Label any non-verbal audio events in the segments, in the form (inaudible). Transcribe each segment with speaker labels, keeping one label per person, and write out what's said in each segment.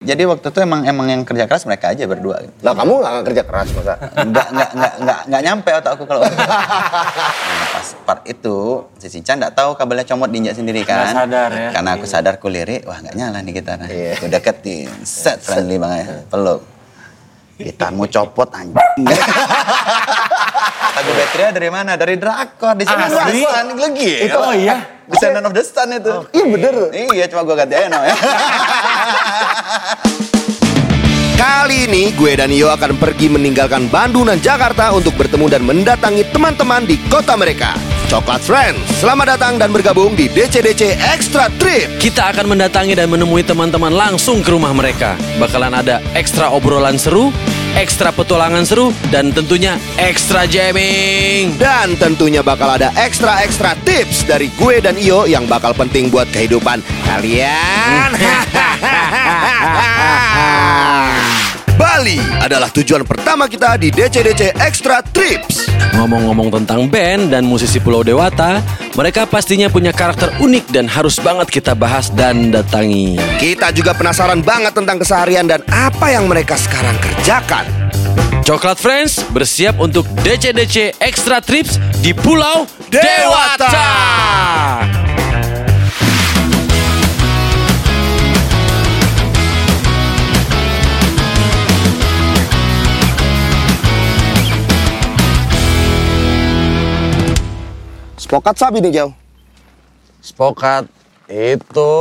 Speaker 1: jadi waktu itu emang emang yang kerja keras mereka aja berdua.
Speaker 2: Lah kamu nggak kerja keras masa?
Speaker 1: Nggak nggak nggak nggak nggak nyampe otakku kalau Nah, pas part itu si Cincan nggak tahu kabelnya comot diinjak sendiri kan.
Speaker 3: Nggak sadar ya. Iya.
Speaker 1: Karena aku sadar ku lirik, wah nggak nyala nih gitarnya. Aku deketin, set friendly banget, ya. peluk. Gitarmu copot anjing. Lagu baterai dari mana? Dari drakor di sini
Speaker 3: Asli?
Speaker 1: Sun, lagi.
Speaker 3: Itu, oh iya?
Speaker 1: Descendant of the Sun itu.
Speaker 2: Iya bener.
Speaker 1: Iya, cuma gua ganti aja no
Speaker 3: (laughs)
Speaker 1: ya.
Speaker 2: Kali ini gue dan Yo akan pergi meninggalkan Bandung dan Jakarta untuk bertemu dan mendatangi teman-teman di kota mereka. Coklat Friends, selamat datang dan bergabung di DCDC Extra Trip.
Speaker 4: Kita akan mendatangi dan menemui teman-teman langsung ke rumah mereka. Bakalan ada ekstra obrolan seru, ekstra petualangan seru, dan tentunya ekstra jamming.
Speaker 2: Dan tentunya bakal ada ekstra-ekstra tips dari gue dan Iyo yang bakal penting buat kehidupan (laughs) kalian. Bali adalah tujuan pertama kita di DCDC Extra Trips.
Speaker 4: Ngomong-ngomong tentang band dan musisi Pulau Dewata, mereka pastinya punya karakter unik dan harus banget kita bahas dan datangi.
Speaker 2: Kita juga penasaran banget tentang keseharian dan apa yang mereka sekarang kerjakan.
Speaker 4: Coklat Friends bersiap untuk DCDC Extra Trips di Pulau
Speaker 2: Dewata.
Speaker 4: Dewata.
Speaker 2: Spokat sapi nih jauh.
Speaker 3: Spokat itu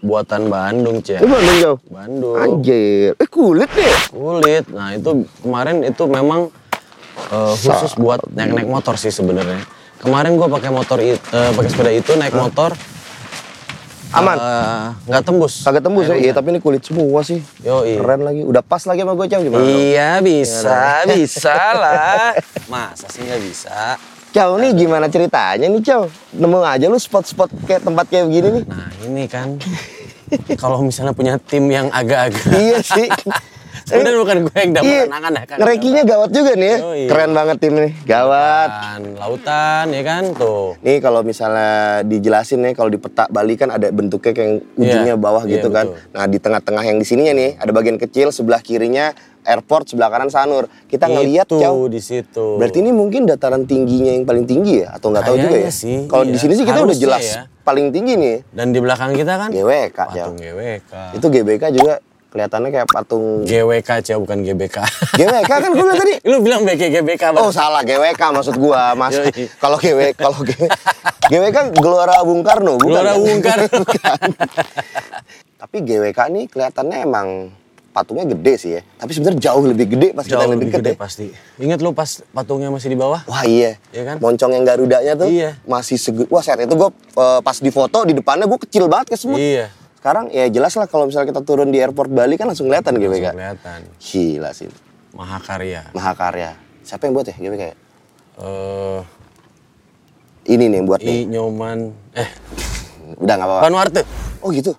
Speaker 3: buatan Bandung, Cek.
Speaker 2: Lu Bandung jauh.
Speaker 3: Bandung.
Speaker 2: Anjir, eh kulit nih.
Speaker 3: Kulit. Nah, itu kemarin itu memang eh, khusus buat naik-naik motor sih sebenarnya. Kemarin gua pakai motor it- eh, pakai sepeda itu naik motor
Speaker 2: Aman.
Speaker 3: eh, nggak tembus.
Speaker 2: Kagak tembus ya,
Speaker 3: Airnya.
Speaker 2: iya tapi ini kulit semua sih.
Speaker 3: Yoi.
Speaker 2: Keren lagi, udah pas lagi sama gue jauh gimana?
Speaker 3: Iya bisa, bisa
Speaker 2: (laughs)
Speaker 3: lah. Masa sih nggak bisa?
Speaker 2: Chow nih gimana ceritanya nih Chow? Nemu aja lu spot-spot kayak tempat kayak begini
Speaker 3: (laughs)
Speaker 2: nih.
Speaker 3: Nah ini kan kalau misalnya punya tim yang agak-agak
Speaker 2: iya sih.
Speaker 3: (laughs) Sebenarnya bukan gue yang dapat
Speaker 2: Iya.
Speaker 3: kenangan ya kan.
Speaker 2: Ngerekinya gawat juga nih ya.
Speaker 3: Yoi.
Speaker 2: Keren banget tim nih, gawat.
Speaker 3: Lautan, lautan ya kan tuh.
Speaker 2: Nih kalau misalnya dijelasin nih kalau di peta Bali kan ada bentuknya kayak yang ujungnya
Speaker 3: Iya,
Speaker 2: bawah
Speaker 3: iya,
Speaker 2: gitu kan.
Speaker 3: betul.
Speaker 2: Nah, di tengah-tengah yang di sininya nih ada bagian kecil sebelah kirinya airport, sebelah kanan Sanur. Kita ngelihat
Speaker 3: Itu,
Speaker 2: Chow.
Speaker 3: di situ.
Speaker 2: Berarti ini mungkin dataran tingginya yang paling tinggi ya atau nggak tahu juga
Speaker 3: Kayaknya
Speaker 2: ya?
Speaker 3: sih,
Speaker 2: Kalau di
Speaker 3: iya.
Speaker 2: sini sih kita udah
Speaker 3: Harusnya
Speaker 2: jelas
Speaker 3: ya.
Speaker 2: paling tinggi nih.
Speaker 3: dan di belakang kita kan
Speaker 2: GWK ya.
Speaker 3: patung GWK.
Speaker 2: Itu GBK juga kelihatannya kayak patung
Speaker 3: GWK Cia bukan GBK.
Speaker 2: GWK kan gue bilang tadi.
Speaker 3: (laughs) Lu bilang BK GBK Bang.
Speaker 2: Oh salah GWK maksud gua mas.
Speaker 3: Yoi.
Speaker 2: Kalau GW kalau GW GWK Gelora Bung Karno bukan?
Speaker 3: Gelora
Speaker 2: ya?
Speaker 3: Bung Karno.
Speaker 2: (laughs) Bukan. Tapi GWK nih kelihatannya emang patungnya gede sih ya. Tapi sebenarnya jauh lebih gede pas kita
Speaker 3: Jauh
Speaker 2: lebih
Speaker 3: lebih
Speaker 2: deket
Speaker 3: gede
Speaker 2: ya.
Speaker 3: pasti. Ingat lu pas patungnya masih di bawah?
Speaker 2: Wah iya.
Speaker 3: Iya kan?
Speaker 2: Moncong yang garudanya tuh
Speaker 3: Iya.
Speaker 2: masih sege Wah saat itu gue pas di foto di depannya gue kecil banget kesemut.
Speaker 3: Iya.
Speaker 2: Sekarang ya jelas lah kalau misalnya kita turun di airport Bali kan langsung kelihatan GWK.
Speaker 3: Kelihatan.
Speaker 2: Gila sih.
Speaker 3: Mahakarya.
Speaker 2: Mahakarya. Siapa yang buat ya GWK? ya?
Speaker 3: Eh
Speaker 2: Ini nih yang buat nih.
Speaker 3: I Nyoman eh
Speaker 2: Udah nggak apa-apa.
Speaker 3: Vanuatu.
Speaker 2: Oh gitu.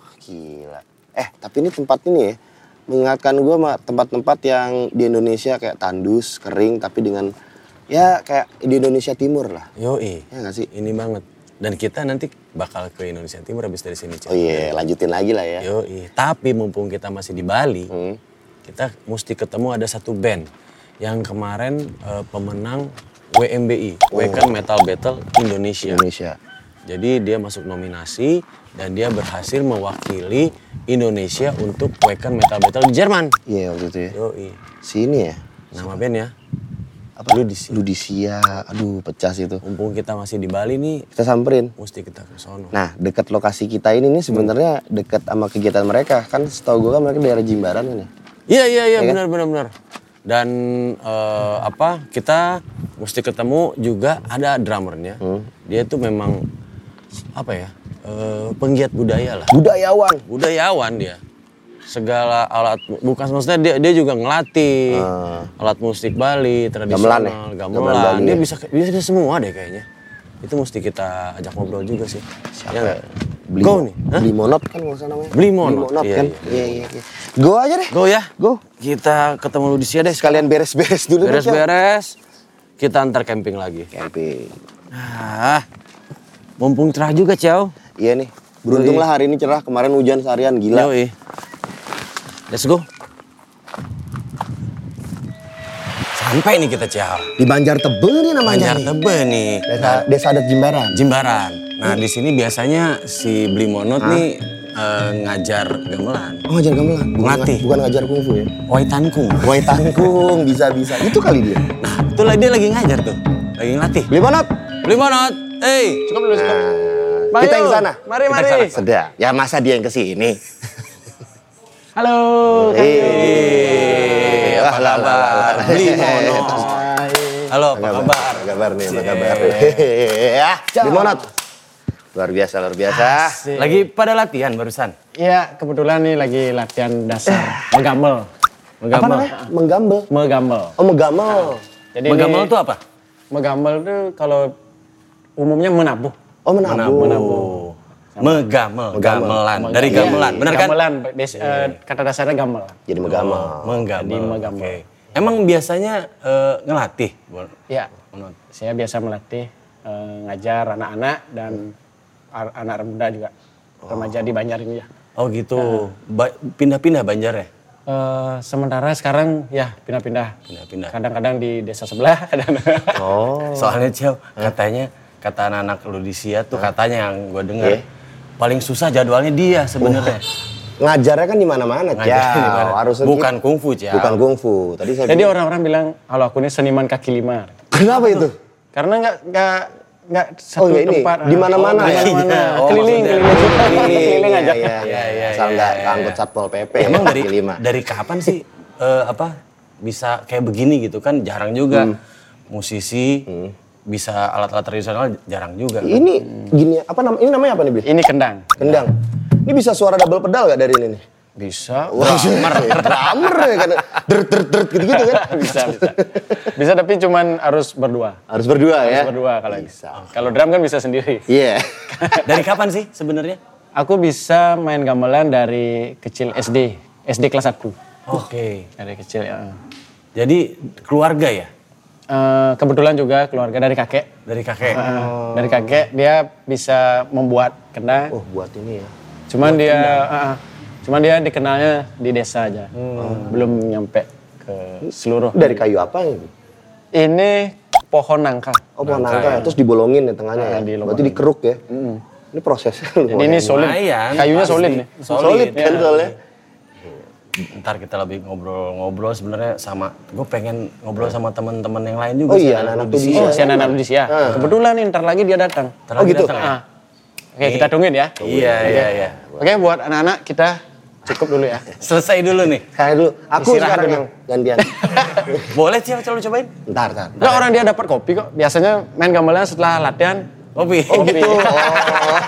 Speaker 2: Wah, Gila. Eh tapi ini tempat ini ya mengingatkan gue sama tempat-tempat yang di Indonesia kayak tandus kering tapi dengan ya kayak di Indonesia Timur lah.
Speaker 3: Yoi.
Speaker 2: Ya nggak sih?
Speaker 3: Ini banget. Dan kita nanti bakal ke Indonesia Timur habis dari sini.
Speaker 2: Oh
Speaker 3: Cak.
Speaker 2: iya lanjutin lagi lah ya.
Speaker 3: Yoi. Tapi mumpung kita masih di Bali, kita mesti ketemu ada satu band yang kemarin eh, pemenang WMBI, Weekend Metal Battle Indonesia.
Speaker 2: Indonesia.
Speaker 3: Jadi dia masuk nominasi dan dia berhasil mewakili Indonesia untuk Weekend Metal Battle di Jerman.
Speaker 2: Iya waktu itu ya.
Speaker 3: Yoi.
Speaker 2: Sini ya.
Speaker 3: Nama band ya.
Speaker 2: Apa?
Speaker 3: Lu di sini.
Speaker 2: Ludisia. Aduh pecah sih itu.
Speaker 3: Mumpung kita masih di Bali nih,
Speaker 2: Kita samperin.
Speaker 3: mesti kita ke sono.
Speaker 2: Nah, dekat lokasi kita ini nih sebenarnya dekat sama kegiatan mereka. Kan setahu gue kan mereka daerah Jimbaran kan ya.
Speaker 3: Iya iya iya benar benar benar. Dan eh, apa kita mesti ketemu juga ada drummernya.
Speaker 2: Hmm.
Speaker 3: Dia tuh memang apa ya eh, penggiat budaya lah.
Speaker 2: Budayawan.
Speaker 3: Budayawan dia. Segala alat mu- bukan maksudnya dia dia juga ngelatih alat musik
Speaker 2: Ah. Gamelan ya?
Speaker 3: Bali tradisional, gamelan.
Speaker 2: Gamelan Bali
Speaker 3: dia
Speaker 2: ya?
Speaker 3: bisa dia bisa semua deh kayaknya. Itu mesti kita ajak ngobrol juga sih. Siapa?
Speaker 2: ya? Beli,
Speaker 3: Go nih. Hah?
Speaker 2: Beli monot kan nggak usah namanya.
Speaker 3: Beli monot, iya,
Speaker 2: kan.
Speaker 3: iya.
Speaker 2: Iya, iya, iya. Go aja deh.
Speaker 3: Go ya.
Speaker 2: Go. Eh,
Speaker 3: Kita ketemu Ludisia deh.
Speaker 2: Sekalian beres-beres dulu. ya. deh, Cel.
Speaker 3: Beres-beres, kita antar camping lagi.
Speaker 2: Camping.
Speaker 3: Ah, mumpung cerah juga, Ciao.
Speaker 2: Iya nih. Beruntung
Speaker 3: Yoi.
Speaker 2: lah hari ini cerah. Kemarin hujan seharian gila.
Speaker 3: Yoi. Let's go. Sampai nih kita Cial.
Speaker 2: Di Banjar Tebel nih namanya
Speaker 3: Banjar
Speaker 2: nih.
Speaker 3: Tebe nih.
Speaker 2: Desa, desa adat Jimbaran.
Speaker 3: Jimbaran. Nah, di sini biasanya si Blimonot nih eh, ngajar gamelan.
Speaker 2: Oh ngajar gamelan. Bukan,
Speaker 3: Ngelatih.
Speaker 2: bukan ngajar kungfu ya.
Speaker 3: Wai Tankung.
Speaker 2: Woi tangkung, bisa-bisa. Itu kali dia.
Speaker 3: Nah, itu lah dia lagi ngajar tuh. Lagi ngelatih.
Speaker 2: Beli monot.
Speaker 3: Blimonot, eh.
Speaker 2: Cukup dulu, cukup.
Speaker 3: Mari,
Speaker 2: Kita yang
Speaker 3: yuk.
Speaker 2: sana.
Speaker 3: Mari,
Speaker 2: Kita
Speaker 3: mari.
Speaker 2: ke sana. Sedap. Ya masa dia yang Eh, kesini?
Speaker 3: Halo. Iya. Hey, iya. apa kabar? Blimonot. Halo, apa kabar?
Speaker 2: Apa kabar nih? Apa kabar? Hehehe, (laughs) Ya, beli monot. Luar biasa, luar biasa.
Speaker 3: Lagi pada latihan barusan.
Speaker 5: Iya, kebetulan nih lagi latihan dasar megambel.
Speaker 2: Apa
Speaker 5: Megambel.
Speaker 2: namanya? Menggambel.
Speaker 5: Megambel.
Speaker 2: Oh, megamel.
Speaker 5: Jadi
Speaker 3: Megambel
Speaker 5: ini-
Speaker 3: tuh apa?
Speaker 5: Megambel tuh kalau umumnya menabuh.
Speaker 2: Oh, menabuh.
Speaker 3: Menabuh. Megamel, gamelan. Dari
Speaker 5: Iya,
Speaker 3: gamelan, benar kan?
Speaker 5: Gamelan, des- eh, kata dasarnya gamelan.
Speaker 2: Jadi megamel.
Speaker 3: Menggamel.
Speaker 5: Jadi menggamel.
Speaker 3: Oke. Emang biasanya eh, ngelatih?
Speaker 5: Iya. Saya biasa melatih eh, ngajar anak-anak dan ar- anak muda juga. Remaja di Banjar ini ya.
Speaker 3: Oh gitu. Ba- Pindah-pindah Banjar ya?
Speaker 5: Eh, sementara sekarang ya pindah-pindah.
Speaker 3: Pindah-pindah.
Speaker 5: Kadang-kadang di desa sebelah. (laughs) Kadang
Speaker 2: Oh.
Speaker 3: Soalnya Cel, katanya kata anak-anak Ludisia tuh katanya yang gue dengar
Speaker 2: Iya.
Speaker 3: paling susah jadwalnya dia sebenarnya.
Speaker 2: Ngajarnya kan di mana-mana,
Speaker 3: Ngajarnya di
Speaker 2: Ciao.
Speaker 3: mana?
Speaker 2: Harusnya
Speaker 3: Bukan
Speaker 2: gitu.
Speaker 3: kungfu, Ciao.
Speaker 2: Bukan kungfu. Tadi saya
Speaker 5: Jadi
Speaker 2: bilang,
Speaker 5: orang-orang bilang, kalau aku ini seniman kaki lima.
Speaker 2: kenapa itu?
Speaker 5: Karena nggak nggak nggak satu
Speaker 2: nggak Oh, iya, ini,
Speaker 5: tempat.
Speaker 2: di mana-mana
Speaker 5: Oh, di
Speaker 2: ya?
Speaker 5: mana-mana.
Speaker 3: Iya, oh,
Speaker 5: keliling,
Speaker 3: maksudnya.
Speaker 5: keliling, (laughs) keliling,
Speaker 2: Iya,
Speaker 5: aja.
Speaker 2: Iya, iya, iya. Asal nggak angkut Satpol PP.
Speaker 3: Emang dari
Speaker 2: ya, kaki lima.
Speaker 3: dari kapan sih eh, apa bisa kayak begini gitu kan jarang juga
Speaker 2: Hmm.
Speaker 3: musisi bisa alat-alat tradisional jarang juga. kan?
Speaker 2: Ini gini, apa namanya? Ini namanya apa nih, Bil?
Speaker 5: Ini kendang.
Speaker 2: Kendang. Ini bisa suara double pedal gak dari ini nih?
Speaker 5: Bisa.
Speaker 2: Wah, drummer. drummer ya kan. Dert, dert, dert gitu-gitu kan.
Speaker 5: (laughs) bisa, bisa. Bisa tapi cuman harus berdua.
Speaker 2: Harus berdua
Speaker 5: Harus
Speaker 2: ya.
Speaker 5: berdua kalau
Speaker 2: Bisa.
Speaker 5: Kalau drum kan bisa sendiri.
Speaker 2: Iya.
Speaker 3: Dari kapan sih
Speaker 2: (laughs)
Speaker 3: sebenarnya?
Speaker 5: Aku bisa main gamelan dari kecil SD. SD kelas 1.
Speaker 3: Oke.
Speaker 5: Dari kecil ya.
Speaker 3: Jadi keluarga ya
Speaker 5: Eh, kebetulan juga keluarga dari kakek.
Speaker 3: dari kakek.
Speaker 2: Ah.
Speaker 5: Eh, Dari kakek dia bisa membuat kendang.
Speaker 2: Oh, buat ini ya.
Speaker 5: Cuman dia, ah, ah. cuman dia dikenalnya di desa aja,
Speaker 2: Hmm.
Speaker 5: belum nyampe ke seluruh.
Speaker 2: Dari kayu apa ini?
Speaker 5: Ini pohon nangka.
Speaker 2: Oh, pohon nangka. ya. Terus dibolongin ya tengahnya ya.
Speaker 5: dilongin.
Speaker 2: Berarti dikeruk ya. Ini prosesnya.
Speaker 5: Jadi ini solid,
Speaker 3: lumayan,
Speaker 5: kayunya
Speaker 3: pasti.
Speaker 5: solid ya. nih.
Speaker 3: solid.
Speaker 2: solid kan
Speaker 3: Iya.
Speaker 2: soalnya.
Speaker 3: Ntar kita lebih ngobrol-ngobrol sebenarnya sama gue pengen ngobrol sama teman-teman yang lain
Speaker 2: Oh
Speaker 3: juga. sih,
Speaker 2: iya, anak-anak
Speaker 3: Ludisia.
Speaker 2: Ludisia.
Speaker 5: Oh, si anak anak ya. Kebetulan nih, ntar lagi dia datang.
Speaker 3: Ntar
Speaker 2: Oh,
Speaker 3: lagi
Speaker 2: gitu?
Speaker 3: datang ya?
Speaker 5: Ah. Oke, kita tungguin ya.
Speaker 3: Iya, iya, iya.
Speaker 5: Oke, buat anak-anak kita cukup dulu ya.
Speaker 3: Selesai dulu nih.
Speaker 2: Kayak dulu. Aku
Speaker 5: Istirahat
Speaker 2: sekarang
Speaker 5: dulu.
Speaker 2: yang gantian.
Speaker 3: Boleh sih coba cobain?
Speaker 2: Ntar, ntar.
Speaker 5: Nah, orang dia dapat kopi kok. Biasanya main gamelan setelah latihan.
Speaker 3: Kopi.
Speaker 5: Oh,
Speaker 2: iya.
Speaker 5: gitu.
Speaker 3: (laughs)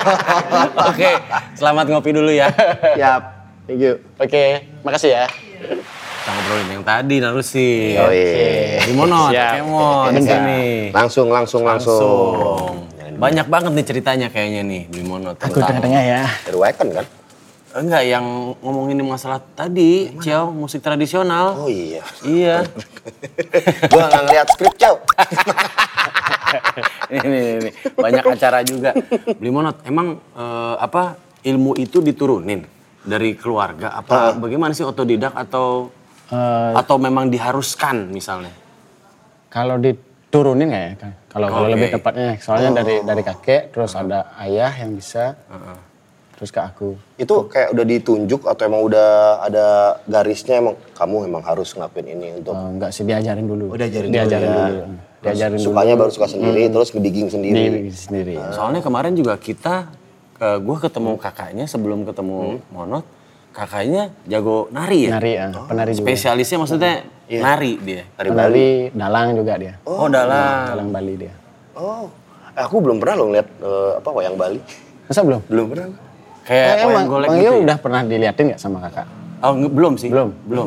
Speaker 3: Oke, selamat ngopi dulu ya.
Speaker 2: Siap. Thank you.
Speaker 5: (laughs) Oke, makasih ya.
Speaker 3: Kita ngobrolin yang tadi narusi.
Speaker 2: Oh iya.
Speaker 3: Di monot,
Speaker 5: Siap.
Speaker 3: kemon di Oh, sini.
Speaker 2: Langsung, langsung, langsung.
Speaker 3: Langsung. Banyak banget nih ceritanya kayaknya nih di monot.
Speaker 5: Aku
Speaker 3: tentang-
Speaker 5: tengah-tengah ya.
Speaker 2: Dari Wacken kan?
Speaker 3: Enggak, yang ngomongin masalah tadi, Ciao, musik tradisional.
Speaker 2: Oh iya.
Speaker 3: Iya.
Speaker 2: Gua nggak ngeliat skrip, Chow.
Speaker 3: (laughs) ini, ini, ini. banyak acara juga. Beli monot, emang eh, apa ilmu itu diturunin dari keluarga? Apa bagaimana sih otodidak atau
Speaker 5: Eh,
Speaker 3: atau memang diharuskan misalnya?
Speaker 5: Kalau diturunin nggak ya kan? Kalau kalau
Speaker 3: Oke.
Speaker 5: lebih tepatnya, soalnya dari dari kakek, terus ada ayah yang bisa, terus ke aku.
Speaker 2: Itu kayak udah ditunjuk atau emang udah ada garisnya emang kamu emang harus ngelakuin ini untuk
Speaker 5: Eh, Nggak sih diajarin dulu.
Speaker 2: Udah diajarin dulu ya.
Speaker 5: diajarin dulu. Diajarin dulu. Hmm.
Speaker 2: sukanya baru suka sendiri terus ngediging sendiri.
Speaker 5: Di- sendiri.
Speaker 3: Soalnya kemarin juga kita, eh, gua ketemu kakaknya sebelum ketemu monot, kakaknya jago Hmm. nari ya.
Speaker 5: Penari ya, penari juga.
Speaker 3: Spesialisnya maksudnya nari dia.
Speaker 2: Dari Bali.
Speaker 5: Penari dalang juga dia.
Speaker 3: Oh, dalam.
Speaker 5: Dalang Bali dia.
Speaker 2: Oh, eh, aku belum pernah loh ngeliat eh, apa wayang Bali.
Speaker 5: Masa belum?
Speaker 2: Belum (laughs) pernah.
Speaker 3: Kayak
Speaker 5: Eh,
Speaker 3: wayang
Speaker 5: emang,
Speaker 3: golek
Speaker 5: emang
Speaker 3: gitu.
Speaker 5: dia
Speaker 3: ya?
Speaker 5: udah pernah diliatin nggak sama kakak?
Speaker 3: Oh, nge- belum sih.
Speaker 5: Belum.
Speaker 3: Belum.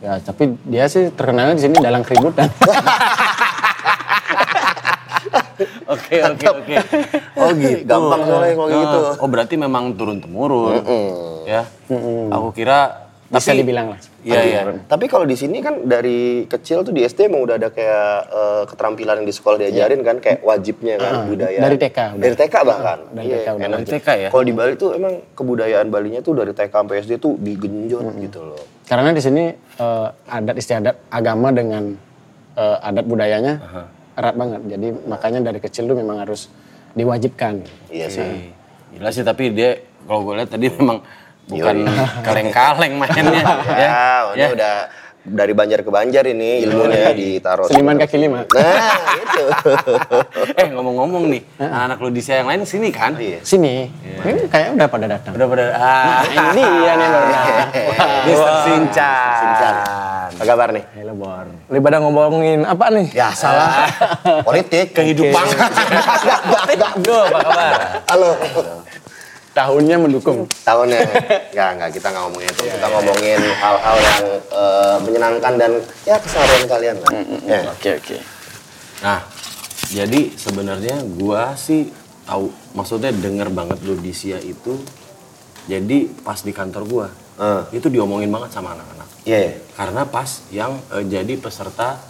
Speaker 5: Ya, tapi dia sih terkenalnya di sini dalang keributan.
Speaker 3: (laughs) Oke, oke, oke. Oh gitu.
Speaker 2: Gampang gitu.
Speaker 5: Ah.
Speaker 3: Ah.
Speaker 2: soalnya kalau kayak gitu.
Speaker 3: Oh berarti memang turun temurun. Ya. Aku kira
Speaker 5: Bisa dibilang lah.
Speaker 3: Iya, iya.
Speaker 2: Tapi kalau di sini kan dari kecil tuh di SD emang udah ada kayak eh, keterampilan yang di sekolah diajarin kan kayak wajibnya kan budaya.
Speaker 5: Iya. Ah, Dari TK udah. Ah,
Speaker 2: Dari TK bahkan.
Speaker 5: Dari
Speaker 2: Iya,
Speaker 5: TK udah.
Speaker 2: enak
Speaker 3: Dari
Speaker 2: tuh.
Speaker 3: TK ya?
Speaker 2: Kalau di Bali tuh emang kebudayaan Balinya tuh dari TK sampai SD tuh digenjot
Speaker 5: Hmm.
Speaker 2: gitu loh.
Speaker 5: Karena di sini eh, adat istiadat agama dengan eh, adat budayanya erat banget. Jadi makanya dari kecil tuh memang harus diwajibkan.
Speaker 2: Iya sih.
Speaker 3: Gila sih tapi dia kalau gue lihat tadi
Speaker 2: Mm.
Speaker 3: memang bukan kaleng-kaleng
Speaker 2: (laughs)
Speaker 3: mainnya. ya.
Speaker 2: Ya, ini udah dari Banjar ke Banjar ini
Speaker 5: (laughs)
Speaker 2: ilmunya ditaruh.
Speaker 5: Iya. Seniman kaki
Speaker 2: Nah,
Speaker 5: lima.
Speaker 2: gitu.
Speaker 5: (laughs)
Speaker 3: Eh ngomong-ngomong nih, anak-anak lu di yang lain sini kan?
Speaker 2: Iya.
Speaker 5: Sini. Ini kayaknya udah pada datang.
Speaker 3: Udah pada ah.
Speaker 5: Nah, ini dia nih baru datang.
Speaker 3: Mister Sincan.
Speaker 2: Sincan. Apa kabar nih?
Speaker 5: Hello, Bor.
Speaker 6: Daripada ngomongin apa nih?
Speaker 2: Ya salah. (laughs) Politik.
Speaker 3: Kehidupan. Duh, Ya, apa kabar?
Speaker 2: Halo.
Speaker 5: Tahunnya mendukung.
Speaker 2: Tahunnya. Enggak, enggak. Kita nggak ngomongin itu. Kita ngomongin hal-hal yang eh, menyenangkan dan ya keseharian kalian lah. Ya.
Speaker 3: Oke oke. Nah, jadi sebenarnya gua sih tahu maksudnya denger banget lu di Sia itu. Jadi pas di kantor gua,
Speaker 2: Eh.
Speaker 3: itu diomongin banget sama anak-anak.
Speaker 2: Iya.
Speaker 3: Karena pas yang eh, jadi peserta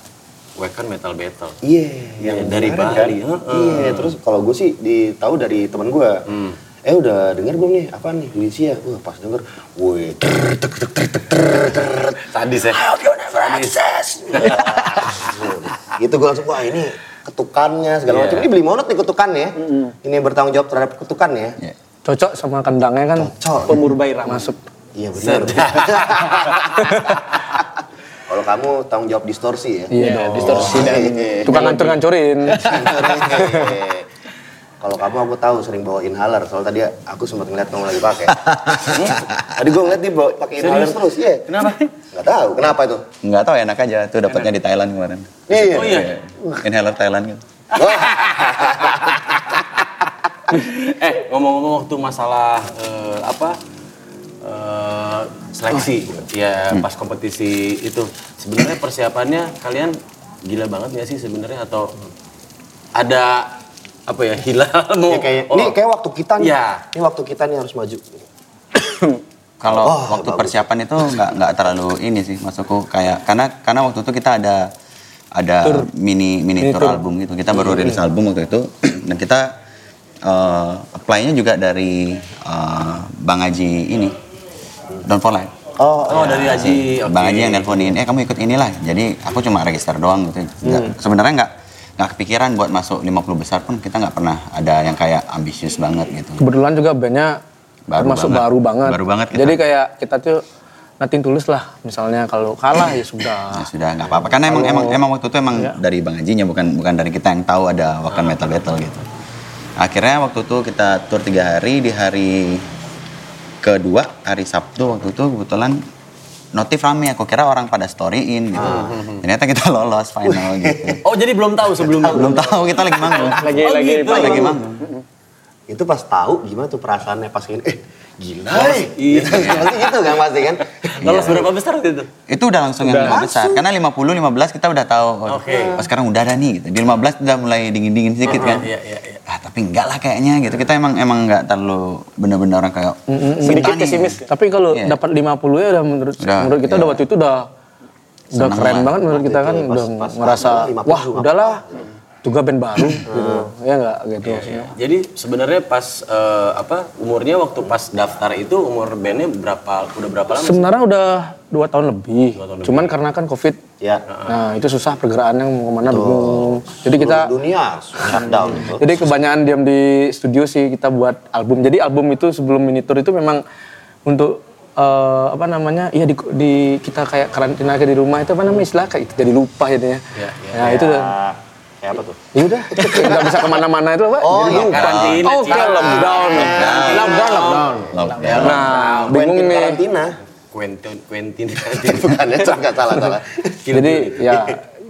Speaker 3: Weekend Metal Battle.
Speaker 2: Iya. Yang
Speaker 3: dari
Speaker 2: kemarin
Speaker 3: Bali,
Speaker 2: kan?
Speaker 3: heeh. Hmm.
Speaker 2: Iya. Terus kalau gue sih di tahu dari teman gue. Eh udah denger belum nih apa nih Indonesia? Wah pas denger, woi ter ter ter ter ter ter
Speaker 3: Sadis ya.
Speaker 2: How you never
Speaker 3: (laughs)
Speaker 2: access. gitu gue langsung wah ini ketukannya
Speaker 3: Iya.
Speaker 2: segala macam. Ini beli monot nih ketukannya. Ini yang bertanggung jawab terhadap ya. ketukannya.
Speaker 6: Cocok sama kendangnya kan?
Speaker 2: Cocok.
Speaker 6: Pemurbaira masuk.
Speaker 2: Iya benar. (laughs) Kalau kamu tanggung jawab distorsi ya.
Speaker 6: Iya, distorsi dan
Speaker 3: Eh,
Speaker 2: Iya.
Speaker 6: tukang
Speaker 3: (laughs)
Speaker 6: ngancur-ngancurin.
Speaker 2: Hehehe. (laughs) Kalau kamu aku tahu sering bawa inhaler, soalnya tadi aku sempat ngeliat kamu lagi (laughs) pakai. tadi gue ngeliat dia bawa pakai inhaler terus, iya. Kenapa? Gak tahu, kenapa itu?
Speaker 1: Nggak tahu enak aja, itu dapatnya di Thailand kemarin.
Speaker 2: Iya.
Speaker 3: Oh iya.
Speaker 1: Inhaler Thailand gitu.
Speaker 3: eh ngomong-ngomong waktu masalah eh, apa eh, seleksi ya
Speaker 2: Hmm.
Speaker 3: pas kompetisi itu sebenarnya persiapannya kalian gila banget nggak sih sebenarnya atau ada apa ya hilal mau
Speaker 2: Ya, kayak,
Speaker 3: oh,
Speaker 2: Ini kayak waktu kita nih,
Speaker 3: Iya.
Speaker 2: ini waktu kita nih harus maju.
Speaker 1: Kalau
Speaker 3: Oh,
Speaker 2: Wah,
Speaker 1: waktu
Speaker 2: bagus.
Speaker 1: persiapan itu nggak nggak terlalu ini sih maksudku kayak karena karena waktu itu kita ada ada mini mini tour album gitu. Kita
Speaker 3: Iya,
Speaker 1: baru rilis album waktu itu (clears throat) dan kita eh, apply-nya juga dari eh, Bang Haji ini. Don for Life.
Speaker 2: Oh,
Speaker 3: oh dari Haji oke.
Speaker 1: Bang Haji yang nelponin, eh kamu ikut inilah. Jadi aku cuma register doang gitu. Nggak-
Speaker 3: Hmm.
Speaker 1: Sebenarnya nggak nggak kepikiran buat masuk 50 besar pun kita nggak pernah ada yang kayak ambisius banget gitu.
Speaker 6: Kebetulan juga bandnya
Speaker 1: Baru
Speaker 6: termasuk
Speaker 1: banget.
Speaker 6: baru banget.
Speaker 1: Baru banget kita.
Speaker 6: Jadi kayak kita tuh natin tulus lah. Misalnya kalau kalah ya
Speaker 1: Ya
Speaker 6: sudah.
Speaker 1: sudah nggak apa-apa karena emang emang emang waktu itu emang
Speaker 5: Ya.
Speaker 1: dari Bang Hajinya bukan bukan dari kita yang tahu ada Wakan Metal Battle gitu. Akhirnya waktu itu kita tur tiga hari di hari kedua hari Sabtu waktu itu kebetulan notif rame aku kira orang pada storyin gitu.
Speaker 5: Ah.
Speaker 1: Ternyata kita lolos
Speaker 5: (laughs)
Speaker 1: final gitu.
Speaker 3: oh jadi belum tahu sebelumnya
Speaker 1: Belum tahu kita lagi manggung.
Speaker 5: Lagi
Speaker 3: Oh,
Speaker 5: lagi
Speaker 3: gitu.
Speaker 1: Kita
Speaker 5: paling-
Speaker 1: lagi manggung.
Speaker 2: itu pas tahu gimana tuh perasaannya pas ini, eh gila.
Speaker 3: Hai.
Speaker 2: Iya. (laughs) Pasti gitu kan pasti kan.
Speaker 3: lolos berapa besar waktu itu
Speaker 1: Itu udah langsung yang lebih besar. Karena 50 15 kita udah tahu. oh,
Speaker 3: Oke.
Speaker 1: Oh, sekarang udah ada nih gitu. Di 15 udah mulai dingin-dingin sedikit kan.
Speaker 3: iya, iya, iya.
Speaker 1: Ah, tapi enggak lah kayaknya gitu. Kita emang emang enggak terlalu bener-bener orang kayak "Minta
Speaker 5: Sedikit
Speaker 1: nih."
Speaker 5: pesimis.
Speaker 6: Tapi kalau
Speaker 1: Iya.
Speaker 6: dapat 50 ya udah menurut
Speaker 1: Udah,
Speaker 6: menurut kita
Speaker 1: iya.
Speaker 6: udah waktu itu udah udah
Speaker 1: Seneng
Speaker 6: keren
Speaker 1: lah.
Speaker 6: banget menurut kita kan udah
Speaker 2: pas
Speaker 6: ngerasa
Speaker 2: pas banget, 50
Speaker 6: wah
Speaker 2: juga.
Speaker 6: udahlah juga band baru
Speaker 2: Hmm.
Speaker 6: gitu. Ya enggak gitu
Speaker 1: Iya,
Speaker 6: maksudnya.
Speaker 3: jadi sebenarnya pas eh, apa umurnya waktu pas daftar itu umur bandnya berapa udah berapa lama sih?
Speaker 6: Sebenarnya udah dua tahun lebih.
Speaker 3: Dua tahun lebih.
Speaker 6: Cuman karena kan covid,
Speaker 1: Iya.
Speaker 2: Ya.
Speaker 6: nah itu susah pergeraannya mau kemana bingung. Jadi kita,
Speaker 2: dunia shutdown gitu. itu. (laughs)
Speaker 6: jadi kebanyakan diam di studio sih kita buat album. Jadi album itu sebelum mini tour itu memang untuk eh, apa namanya? Iya di, di- kita kayak karantina kayak di rumah itu apa namanya istilah kayak itu jadi lupa jadinya.
Speaker 3: Ya, ya,
Speaker 6: nah itu udah.
Speaker 2: Ah, Iya, kayak apa tuh?
Speaker 6: Ya udah, nggak bisa kemana-mana itu apa?
Speaker 2: Oh,
Speaker 6: jadi
Speaker 2: iya,
Speaker 6: lupa.
Speaker 3: karantina,
Speaker 6: Oh,
Speaker 3: Cina.
Speaker 6: kayak lockdown. Lockdown, lockdown.
Speaker 1: Lockdown.
Speaker 6: Nah, bingung
Speaker 2: Quentin
Speaker 6: nih.
Speaker 2: Karantina.
Speaker 3: Quentin Quentin (laughs)
Speaker 2: Bukan ya, salah salah. salah.
Speaker 3: Kill
Speaker 6: Jadi
Speaker 2: gitu.
Speaker 3: Bill itu.
Speaker 6: ya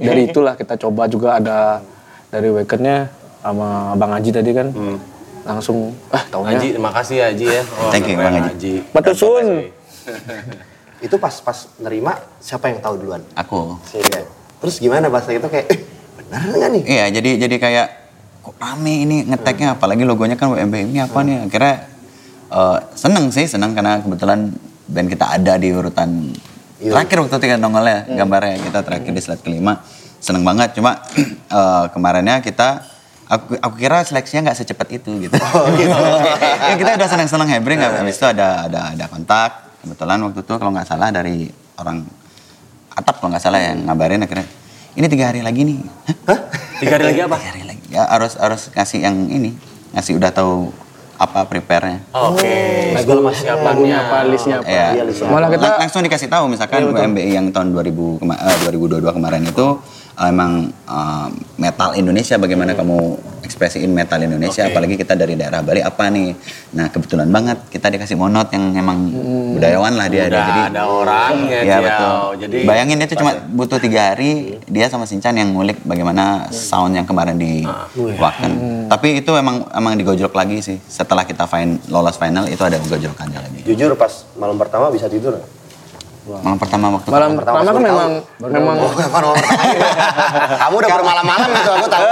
Speaker 6: dari itulah kita coba juga ada dari weekendnya sama Bang Haji tadi kan
Speaker 2: Hmm.
Speaker 6: langsung ah taunya
Speaker 3: Haji, terima kasih ya Haji ya. Oh,
Speaker 1: Thank you,
Speaker 3: keren,
Speaker 1: Bang Haji.
Speaker 6: Betul, Sun.
Speaker 2: Itu pas pas nerima siapa yang tahu duluan?
Speaker 1: Aku.
Speaker 2: Iya. Terus gimana pas itu kayak eh, bener nggak nih?
Speaker 1: Iya, jadi jadi kayak kok rame ini ngeteknya apalagi logonya kan WMB ini apa nih? Akhirnya eh, seneng sih, seneng karena kebetulan band kita ada di urutan terakhir waktu itu kan nongolnya gambarnya kita terakhir di slide kelima seneng banget cuma (clears throat) eh, kemarinnya kita aku aku kira seleksinya nggak secepat itu gitu, (laughs) Ya, kita udah seneng seneng hebring habis itu ada ada ada kontak kebetulan waktu itu kalau nggak salah dari orang atap kalau nggak salah yang ngabarin akhirnya ini tiga hari lagi nih Hah?
Speaker 3: Tiga hari lagi apa?
Speaker 1: tiga hari lagi ya harus harus ngasih yang ini ngasih udah tahu apa prepare-nya
Speaker 3: Oke. Segala persiapannya.
Speaker 5: lagunya apa listnya apa
Speaker 1: Iya.
Speaker 6: Malah kita- Iya,
Speaker 1: Lang- langsung dikasih tahu misalkan UMBI yang tahun 2000 kema- eh, 2022 kemarin itu eh, emang eh, metal Indonesia bagaimana kamu ekspresiin metal Indonesia apalagi kita dari daerah Bali apa nih. Nah, kebetulan banget kita dikasih monot yang emang
Speaker 6: Hmm.
Speaker 1: budayawan lah dia
Speaker 3: Udah ada orangnya,
Speaker 1: Iya,
Speaker 3: Ciao.
Speaker 1: betul.
Speaker 3: Jadi
Speaker 1: bayangin itu cuma butuh tiga hari dia sama Sinchan yang ngulik bagaimana sound yang kemarin dikeluarkan. Tapi itu emang emang digojlok lagi sih setelah kita fin- lolos final itu ada gojlokannya lagi.
Speaker 2: Jujur pas malam pertama bisa tidur nggak?
Speaker 1: Malam pertama waktu
Speaker 6: Malam
Speaker 2: pertama
Speaker 6: pertama kan
Speaker 2: baru
Speaker 6: memang memang
Speaker 2: Oh, bukan malam pertama.
Speaker 6: (laughs)
Speaker 2: Kamu udah bermalam-malam gitu, aku tahu.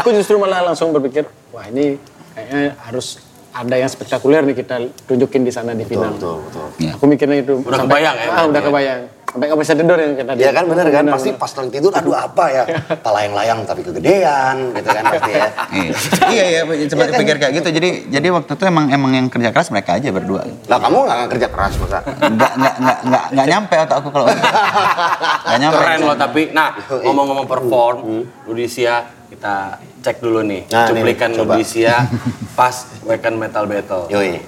Speaker 5: aku justru malah langsung berpikir wah ini kayaknya harus ada yang spektakuler nih kita tunjukin di sana di final
Speaker 2: Betul, betul.
Speaker 1: Iya.
Speaker 5: aku mikirnya itu
Speaker 3: Udah kebayang ya,
Speaker 5: ah, udah
Speaker 3: berarti ya.
Speaker 5: kebayang sampai nggak bisa tidur yang kita
Speaker 2: Iya kan bener kan, pasti pas lagi tidur, aduh apa ya, talayang-layang tapi kegedean gitu kan pasti ya.
Speaker 1: Iya. iya iya coba dipikir kayak gitu jadi jadi waktu itu emang emang yang kerja keras mereka aja berdua
Speaker 2: Lah kamu nggak kerja keras masa?
Speaker 1: nggak nggak nggak nggak nggak nyampe otak aku kalau nggak nyampe
Speaker 3: Keren loh tapi. Nah ngomong-ngomong perform, Ludisia kita cek dulu nih.
Speaker 2: Nah, nih,
Speaker 3: cuplikan
Speaker 2: coba.
Speaker 3: Ludisia pas Weekend Metal Battle.
Speaker 2: Yoi.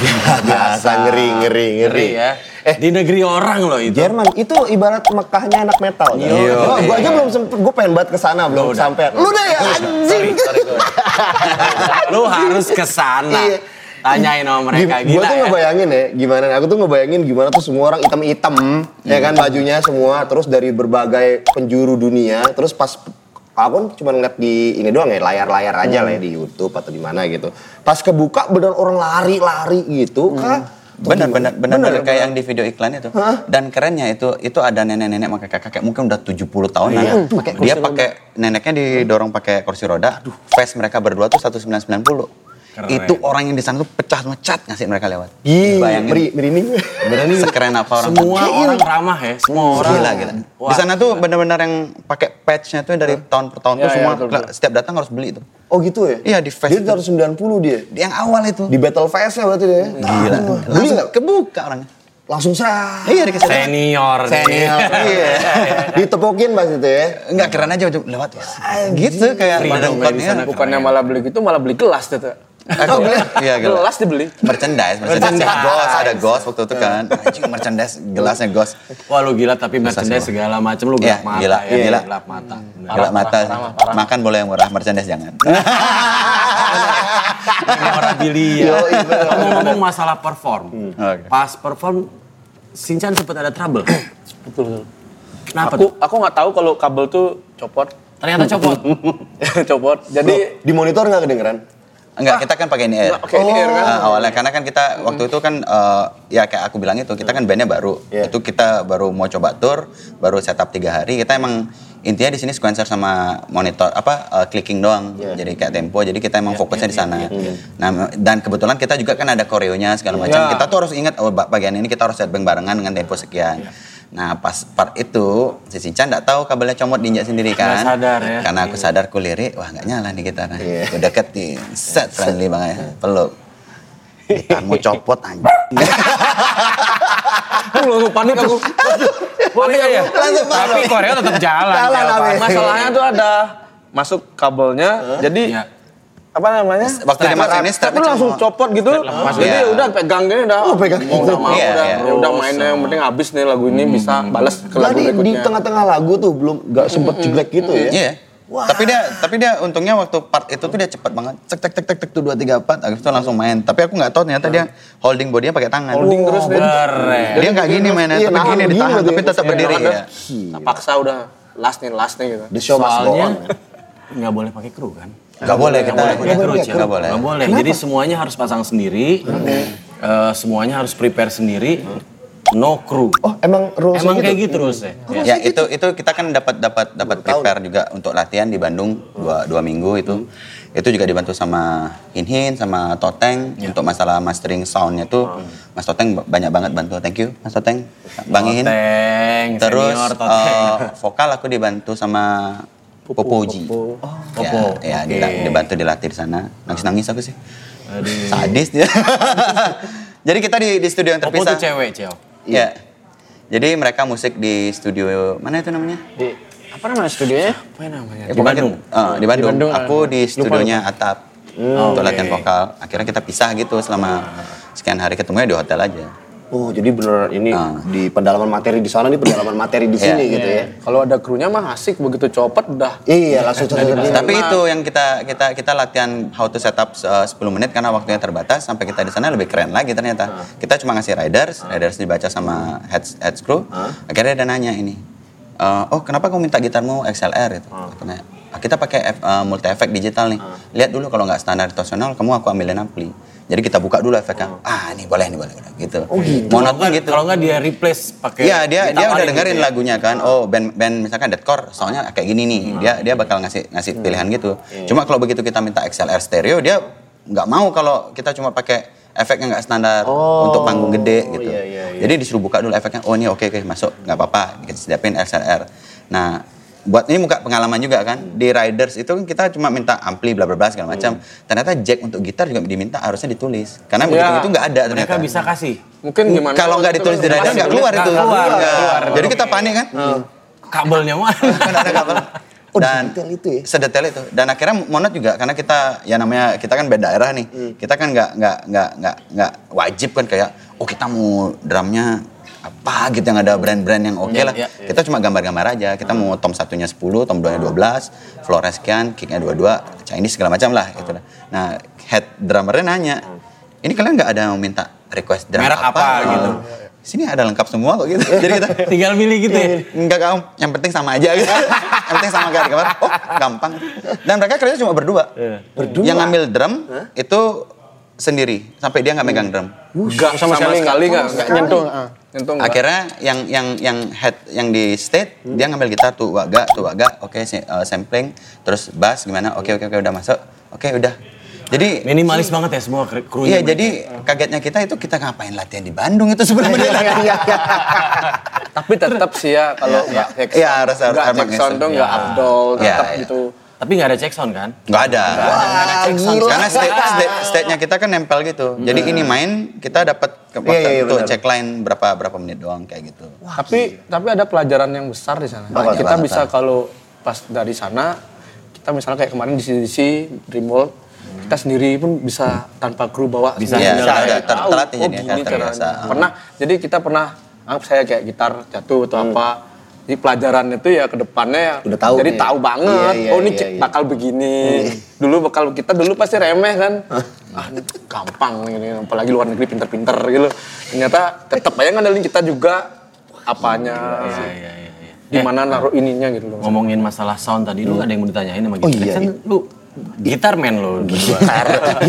Speaker 2: Ya, Biasa ngeri, ngeri, ngeri.
Speaker 3: Ngeri ya. Di negeri orang loh itu.
Speaker 2: Jerman itu ibarat Mekahnya anak metal. Kan?
Speaker 3: Iya.
Speaker 2: Gua, gua aja belum sempet, gua pengen banget kesana belum sampai. Lu deh ya anjing.
Speaker 3: Lu harus kesana.
Speaker 2: Iya.
Speaker 3: Tanyain sama mereka
Speaker 2: Gua
Speaker 3: gila
Speaker 2: tuh
Speaker 3: ya.
Speaker 2: ngebayangin ya, gimana aku tuh ngebayangin gimana tuh semua orang item-item, ya
Speaker 1: Hmm.
Speaker 2: kan bajunya semua, terus dari berbagai penjuru dunia, terus pas aku kan cuma ngeliat di ini doang ya layar-layar aja
Speaker 1: Hmm.
Speaker 2: lah ya di YouTube atau di mana gitu. Pas kebuka bener orang lari-lari
Speaker 1: Hmm.
Speaker 2: gitu, kah?
Speaker 1: benar benar benar benar kayak yang di video iklan itu dan kerennya itu itu ada nenek-nenek sama kakek-kakek mungkin udah 70 tahunan Pakai- dia pakai neneknya didorong pakai kursi roda face mereka berdua tuh 1990 itu orang yang di sana tuh pecah semua cat ngasih mereka lewat
Speaker 2: Ih, meri,
Speaker 1: (laughs)
Speaker 2: merinding.
Speaker 1: Berani sekeren apa orang
Speaker 3: Semua
Speaker 1: Tangerang.
Speaker 3: orang ramah ya. Semua orang.
Speaker 1: gila gila. Di sana tuh benar-benar yang pakai patch-nya tuh dari tahun per tahun tuh semua setiap datang harus beli itu.
Speaker 2: Oh gitu ya?
Speaker 1: Iya, di face
Speaker 2: Dia tahun 90 dia.
Speaker 1: Yang awal itu.
Speaker 2: Di battle face-nya berarti dia.
Speaker 1: Gila.
Speaker 2: Aduh, Beli
Speaker 1: Langsung
Speaker 2: nggak?
Speaker 1: kebuka orangnya.
Speaker 2: Langsung serah.
Speaker 1: Iya dikasih.
Speaker 3: Senior. nih.
Speaker 2: Senior. (laughs) Iya. Ditepokin pas itu ya.
Speaker 1: Enggak keren aja udah lewat ya. Gitu kayak ada ungkapnya.
Speaker 6: bukannya malah beli gitu malah beli gelas tete.
Speaker 1: Aku beli. Iya gila.
Speaker 6: Gelas dibeli.
Speaker 1: Merchandise, merchandise. Gos, ada gos waktu itu kan. Anjing merchandise, gelasnya gos.
Speaker 3: Wah lu gila tapi merchandise
Speaker 1: sih,
Speaker 3: segala macam lu
Speaker 1: Iya,
Speaker 3: gelap mata
Speaker 1: gila,
Speaker 3: ya.
Speaker 1: gila.
Speaker 3: Gelap mata. Bener.
Speaker 1: Gila mata. Makan boleh yang murah, merchandise jangan.
Speaker 3: memorabilia.
Speaker 6: iya,
Speaker 3: Ngomong-ngomong masalah perform.
Speaker 6: Hmm,
Speaker 1: Oke.
Speaker 3: Pas perform, Sinchan sempat ada trouble.
Speaker 6: (coughs) Betul. betul.
Speaker 3: Kenapa
Speaker 6: aku
Speaker 3: tuh?
Speaker 6: aku nggak tahu kalau kabel tuh copot.
Speaker 3: Ternyata copot.
Speaker 6: (laughs) copot. Jadi
Speaker 2: Loh, di monitor nggak kedengeran?
Speaker 1: Enggak, kita kan pakai ini air.
Speaker 6: Nggak pakai ini air, kan?
Speaker 1: Eh, awalnya karena kan kita waktu itu kan eh, ya kayak aku bilang itu kita kan bandnya baru.
Speaker 2: Iya.
Speaker 1: Itu kita baru mau coba tour, baru setup tiga hari. Kita emang intinya di sini sequencer sama monitor apa eh, clicking doang. Jadi kayak tempo. Jadi kita emang fokusnya di sana. Nah, me- dan kebetulan kita juga kan ada koreonya segala macam. Kita tuh harus ingat oh ba- bagian ini kita harus headbang barengan dengan tempo sekian. Nah pas part itu si Sinchan nggak tahu kabelnya comot diinjak sendiri kan.
Speaker 3: Nggak sadar ya.
Speaker 1: Karena aku sadar ku lirik, wah nggak nyala nih gitarnya. Aku deket nih, set friendly banget ya, peluk. Kamu copot anjing.
Speaker 6: aku langsung panik aku. Panik ya.
Speaker 3: Tapi Korea tetap jalan.
Speaker 2: Jalan,
Speaker 3: Jalan,
Speaker 2: Abi.
Speaker 6: Masalahnya tuh ada masuk kabelnya. Jadi
Speaker 3: Iya.
Speaker 6: apa namanya?
Speaker 1: Waktu dia masuk ini,
Speaker 6: strapnya langsung copot gitu. Jadi
Speaker 1: Iya.
Speaker 6: udah pegang gini udah. Oh, pegang mau udah mau
Speaker 1: Iya,
Speaker 6: udah.
Speaker 1: iya.
Speaker 6: Ya udah mainnya yang penting habis
Speaker 3: Hmm.
Speaker 6: nih lagu ini bisa balas ke
Speaker 2: Lah
Speaker 6: lagu
Speaker 2: di, di
Speaker 6: berikutnya.
Speaker 2: tengah-tengah lagu tuh belum nggak sempet jeglek gitu ya?
Speaker 1: Iya. Tapi dia tapi dia untungnya waktu part itu tuh dia cepat banget. Cek cek cek cek cek tuh 2 3 4 habis itu langsung main. Tapi aku nggak tahu ternyata dia holding bodinya pakai tangan.
Speaker 5: Holding terus dia.
Speaker 3: Keren.
Speaker 1: Dia nggak gini mainnya,
Speaker 2: Iya,
Speaker 1: tapi
Speaker 2: nahan
Speaker 1: gini
Speaker 2: begini
Speaker 1: ditahan
Speaker 2: loh
Speaker 1: tapi
Speaker 2: dia.
Speaker 1: tetap berdiri
Speaker 5: Ada-
Speaker 1: ya.
Speaker 5: Paksa udah last nih last nih gitu.
Speaker 2: The show must go on.
Speaker 3: Soalnya
Speaker 2: man.
Speaker 3: nggak boleh pakai kru kan?
Speaker 1: Nggak boleh kita
Speaker 3: Nggak boleh.
Speaker 1: nggak boleh.
Speaker 3: Nggak boleh. Jadi semuanya harus pasang sendiri. eh, semuanya harus prepare sendiri. No crew.
Speaker 2: Oh, emang rules
Speaker 3: Emang kayak gitu rulesnya.
Speaker 1: Ya
Speaker 3: Ya.
Speaker 1: itu itu kita kan dapat dapat dapat prepare juga untuk latihan di Bandung dua, dua minggu itu.
Speaker 3: Hmm.
Speaker 1: Itu juga dibantu sama Inhin sama Toteng
Speaker 3: Ya.
Speaker 1: untuk masalah mastering soundnya tuh Mas Toteng ba- banyak banget bantu. Thank you Mas Toteng. Bang Inhin.
Speaker 3: Teng,
Speaker 1: Terus
Speaker 3: senior, toteng.
Speaker 1: eh, vokal aku dibantu sama Popoji. Oh, ya,
Speaker 3: Popo,
Speaker 1: ya
Speaker 3: oke.
Speaker 1: dila- dibantu dilatih di sana. Nangis-nangis aku sih. Sadis
Speaker 3: (laughs)
Speaker 1: dia. Jadi kita di, di studio yang
Speaker 3: Popo
Speaker 1: terpisah.
Speaker 3: tuh cewek, Ceo.
Speaker 1: Iya. Jadi mereka musik di studio mana itu namanya?
Speaker 7: Di, apa namanya studionya?
Speaker 3: Apa namanya?
Speaker 1: Ya,
Speaker 3: Iya, Di
Speaker 1: pokoknya-
Speaker 3: Bandung.
Speaker 1: Eh, di Bandung.
Speaker 7: Bandung,
Speaker 1: Aku di studionya Atap untuk
Speaker 3: Hmm, Oke. Ah.
Speaker 1: latihan vokal. Akhirnya kita pisah gitu selama sekian hari ketemunya di hotel aja.
Speaker 2: Oh, jadi beneran ini
Speaker 1: Ah.
Speaker 2: di pendalaman materi di sana, di pendalaman materi di sini gitu ya.
Speaker 5: Kalau ada krunya mah asik begitu copot udah
Speaker 2: Iya, langsung cerita
Speaker 1: Tapi itu yang kita kita kita latihan how to setup uh, 10 menit karena waktunya terbatas sampai kita di sana lebih keren lagi ternyata. Kita cuma ngasih riders, riders dibaca sama head head crew. Akhirnya dia nanya ini. "Eh, oh, kenapa kamu minta gitarmu XLR itu? Katanya, "Ah, kita pakai ef- eh, multi effect digital nih. Lihat dulu kalau nggak standar tonsional kamu aku ambilin ampli. Jadi kita buka dulu efeknya. Ah, ini boleh, ini boleh gitu. Oh,
Speaker 3: Monoton gitu. Kalau nggak dia replace pakai.
Speaker 1: Iya dia dia
Speaker 3: ditawarin
Speaker 1: udah dengerin
Speaker 3: gitu ya.
Speaker 1: lagunya kan. Oh band band misalkan deathcore soalnya kayak gini nih.
Speaker 3: Hmm.
Speaker 1: Dia dia bakal ngasih ngasih pilihan gitu.
Speaker 3: Iya.
Speaker 1: Cuma kalau begitu kita minta XLR stereo dia nggak mau kalau kita cuma pakai efek yang nggak standar
Speaker 3: Oh.
Speaker 1: untuk panggung gede gitu.
Speaker 3: Iya,
Speaker 1: Jadi disuruh buka dulu efeknya. Oh ini oke oke masuk nggak apa-apa. Kita siapin XLR. Nah buat ini muka pengalaman juga kan di riders itu kan kita cuma minta ampli bla bla bla segala macam
Speaker 3: Hmm.
Speaker 1: ternyata jack untuk gitar juga diminta harusnya ditulis karena begitu itu nggak ada ternyata
Speaker 3: Iya. Mereka bisa kasih.
Speaker 5: mungkin gimana? gitu,
Speaker 1: kalau nggak ditulis di dada nggak keluar itu.
Speaker 3: Nggak keluar,
Speaker 1: Nggak.
Speaker 3: nggak keluar.
Speaker 1: Jadi kita panik kan?
Speaker 3: Kabelnya
Speaker 4: (laughs)
Speaker 3: mana?
Speaker 1: Kan ada kabel. Dan
Speaker 2: itu ya?
Speaker 1: sedetail itu. Dan akhirnya monot juga karena kita ya namanya kita kan beda daerah nih.
Speaker 2: Hmm.
Speaker 1: Kita kan nggak nggak nggak nggak nggak wajib kan kayak oh kita mau drumnya apa gitu yang ada brand-brand yang oke lah.
Speaker 3: Iya,
Speaker 1: Kita cuma gambar-gambar aja. Kita mau tom satunya 10, tom 2 nya 12, floor sekian, kicknya 22, Chinese segala macam lah gitu lah. Nah, head drummernya nanya, ini kalian nggak ada yang minta request drum
Speaker 3: Merek apa, gitu.
Speaker 1: Sini ada lengkap semua kok gitu. (laughs) Jadi kita
Speaker 3: Tinggal milih gitu ya.
Speaker 1: Enggak kamu, yang penting sama aja gitu. yang penting sama kayak di kamar. Oh, gampang. Dan mereka kerja cuma berdua. Berdua. Yang ngambil drum itu sendiri sampai dia nggak megang drum.
Speaker 5: Enggak sama, sekali enggak nyentuh. Nyentuh nggak.
Speaker 1: Akhirnya yang yang yang head yang di state
Speaker 5: Hmm.
Speaker 1: dia ngambil gitar tuh waga tuh waga. Oke, si- eh, sampling terus bass gimana? Oke, oke, oke udah masuk. Oke, udah. Jadi
Speaker 3: Minimalis banget ya semua kru- krunya.
Speaker 1: Iya, jadi kagetnya kita itu kita ngapain latihan di Bandung itu
Speaker 5: Iya,
Speaker 1: sebenarnya.
Speaker 5: Tapi tetap sih ya kalau enggak Jackson.
Speaker 1: Iya, harus- harus
Speaker 5: enggak
Speaker 1: emang
Speaker 5: Jackson
Speaker 1: Jackson.
Speaker 5: dong enggak
Speaker 1: Iya.
Speaker 5: Abdol
Speaker 1: Iya,
Speaker 5: tetap
Speaker 1: iya.
Speaker 5: gitu.
Speaker 3: Tapi nggak ada check sound kan?
Speaker 1: Nggak ada.
Speaker 2: gila. Hmm.
Speaker 1: Karena state, state, state-nya kita kan nempel gitu. Jadi ini main kita dapat ke-
Speaker 2: Iya, iya, iya,
Speaker 1: untuk
Speaker 2: benar.
Speaker 1: check line berapa berapa menit doang kayak gitu.
Speaker 5: tapi tapi ada pelajaran yang besar di sana.
Speaker 1: Banyak
Speaker 5: kita
Speaker 1: banget,
Speaker 5: bisa
Speaker 1: Pak.
Speaker 5: kalau pas dari sana kita misalnya kayak kemarin di CDC Dreamworld kita sendiri pun bisa tanpa kru bawa
Speaker 3: Bisa,
Speaker 5: sendiri.
Speaker 1: bisa, ada
Speaker 5: Tahu,
Speaker 1: ter- terlatih
Speaker 5: oh,
Speaker 1: jadinya,
Speaker 5: gini
Speaker 1: kan, terbiasa.
Speaker 5: caranya.
Speaker 1: Hmm.
Speaker 5: Pernah jadi kita pernah anggap saya kayak gitar jatuh atau apa. Jadi pelajaran itu ya kedepannya ya
Speaker 2: Hmm. Udah tahu
Speaker 5: Jadi
Speaker 2: nih.
Speaker 5: tahu banget.
Speaker 2: Iya, iya,
Speaker 5: oh ini
Speaker 2: iya,
Speaker 5: cek-
Speaker 2: iya.
Speaker 5: bakal begini. Dulu bakal kita dulu pasti remeh kan. ah ini gampang ini apalagi luar negeri pinter-pinter gitu. Ternyata tetap aja ngandelin kita juga apanya
Speaker 3: Iya, iya, iya.
Speaker 5: di
Speaker 2: Eh.
Speaker 5: mana Iya. naruh ininya gitu loh.
Speaker 3: Ngomongin masalah sound tadi, lu ada yang mau ditanyain
Speaker 5: Oh,
Speaker 3: sama gitaris
Speaker 2: iya,
Speaker 3: kan
Speaker 2: iya.
Speaker 3: lu gitar man lu berdua.
Speaker 5: Iya.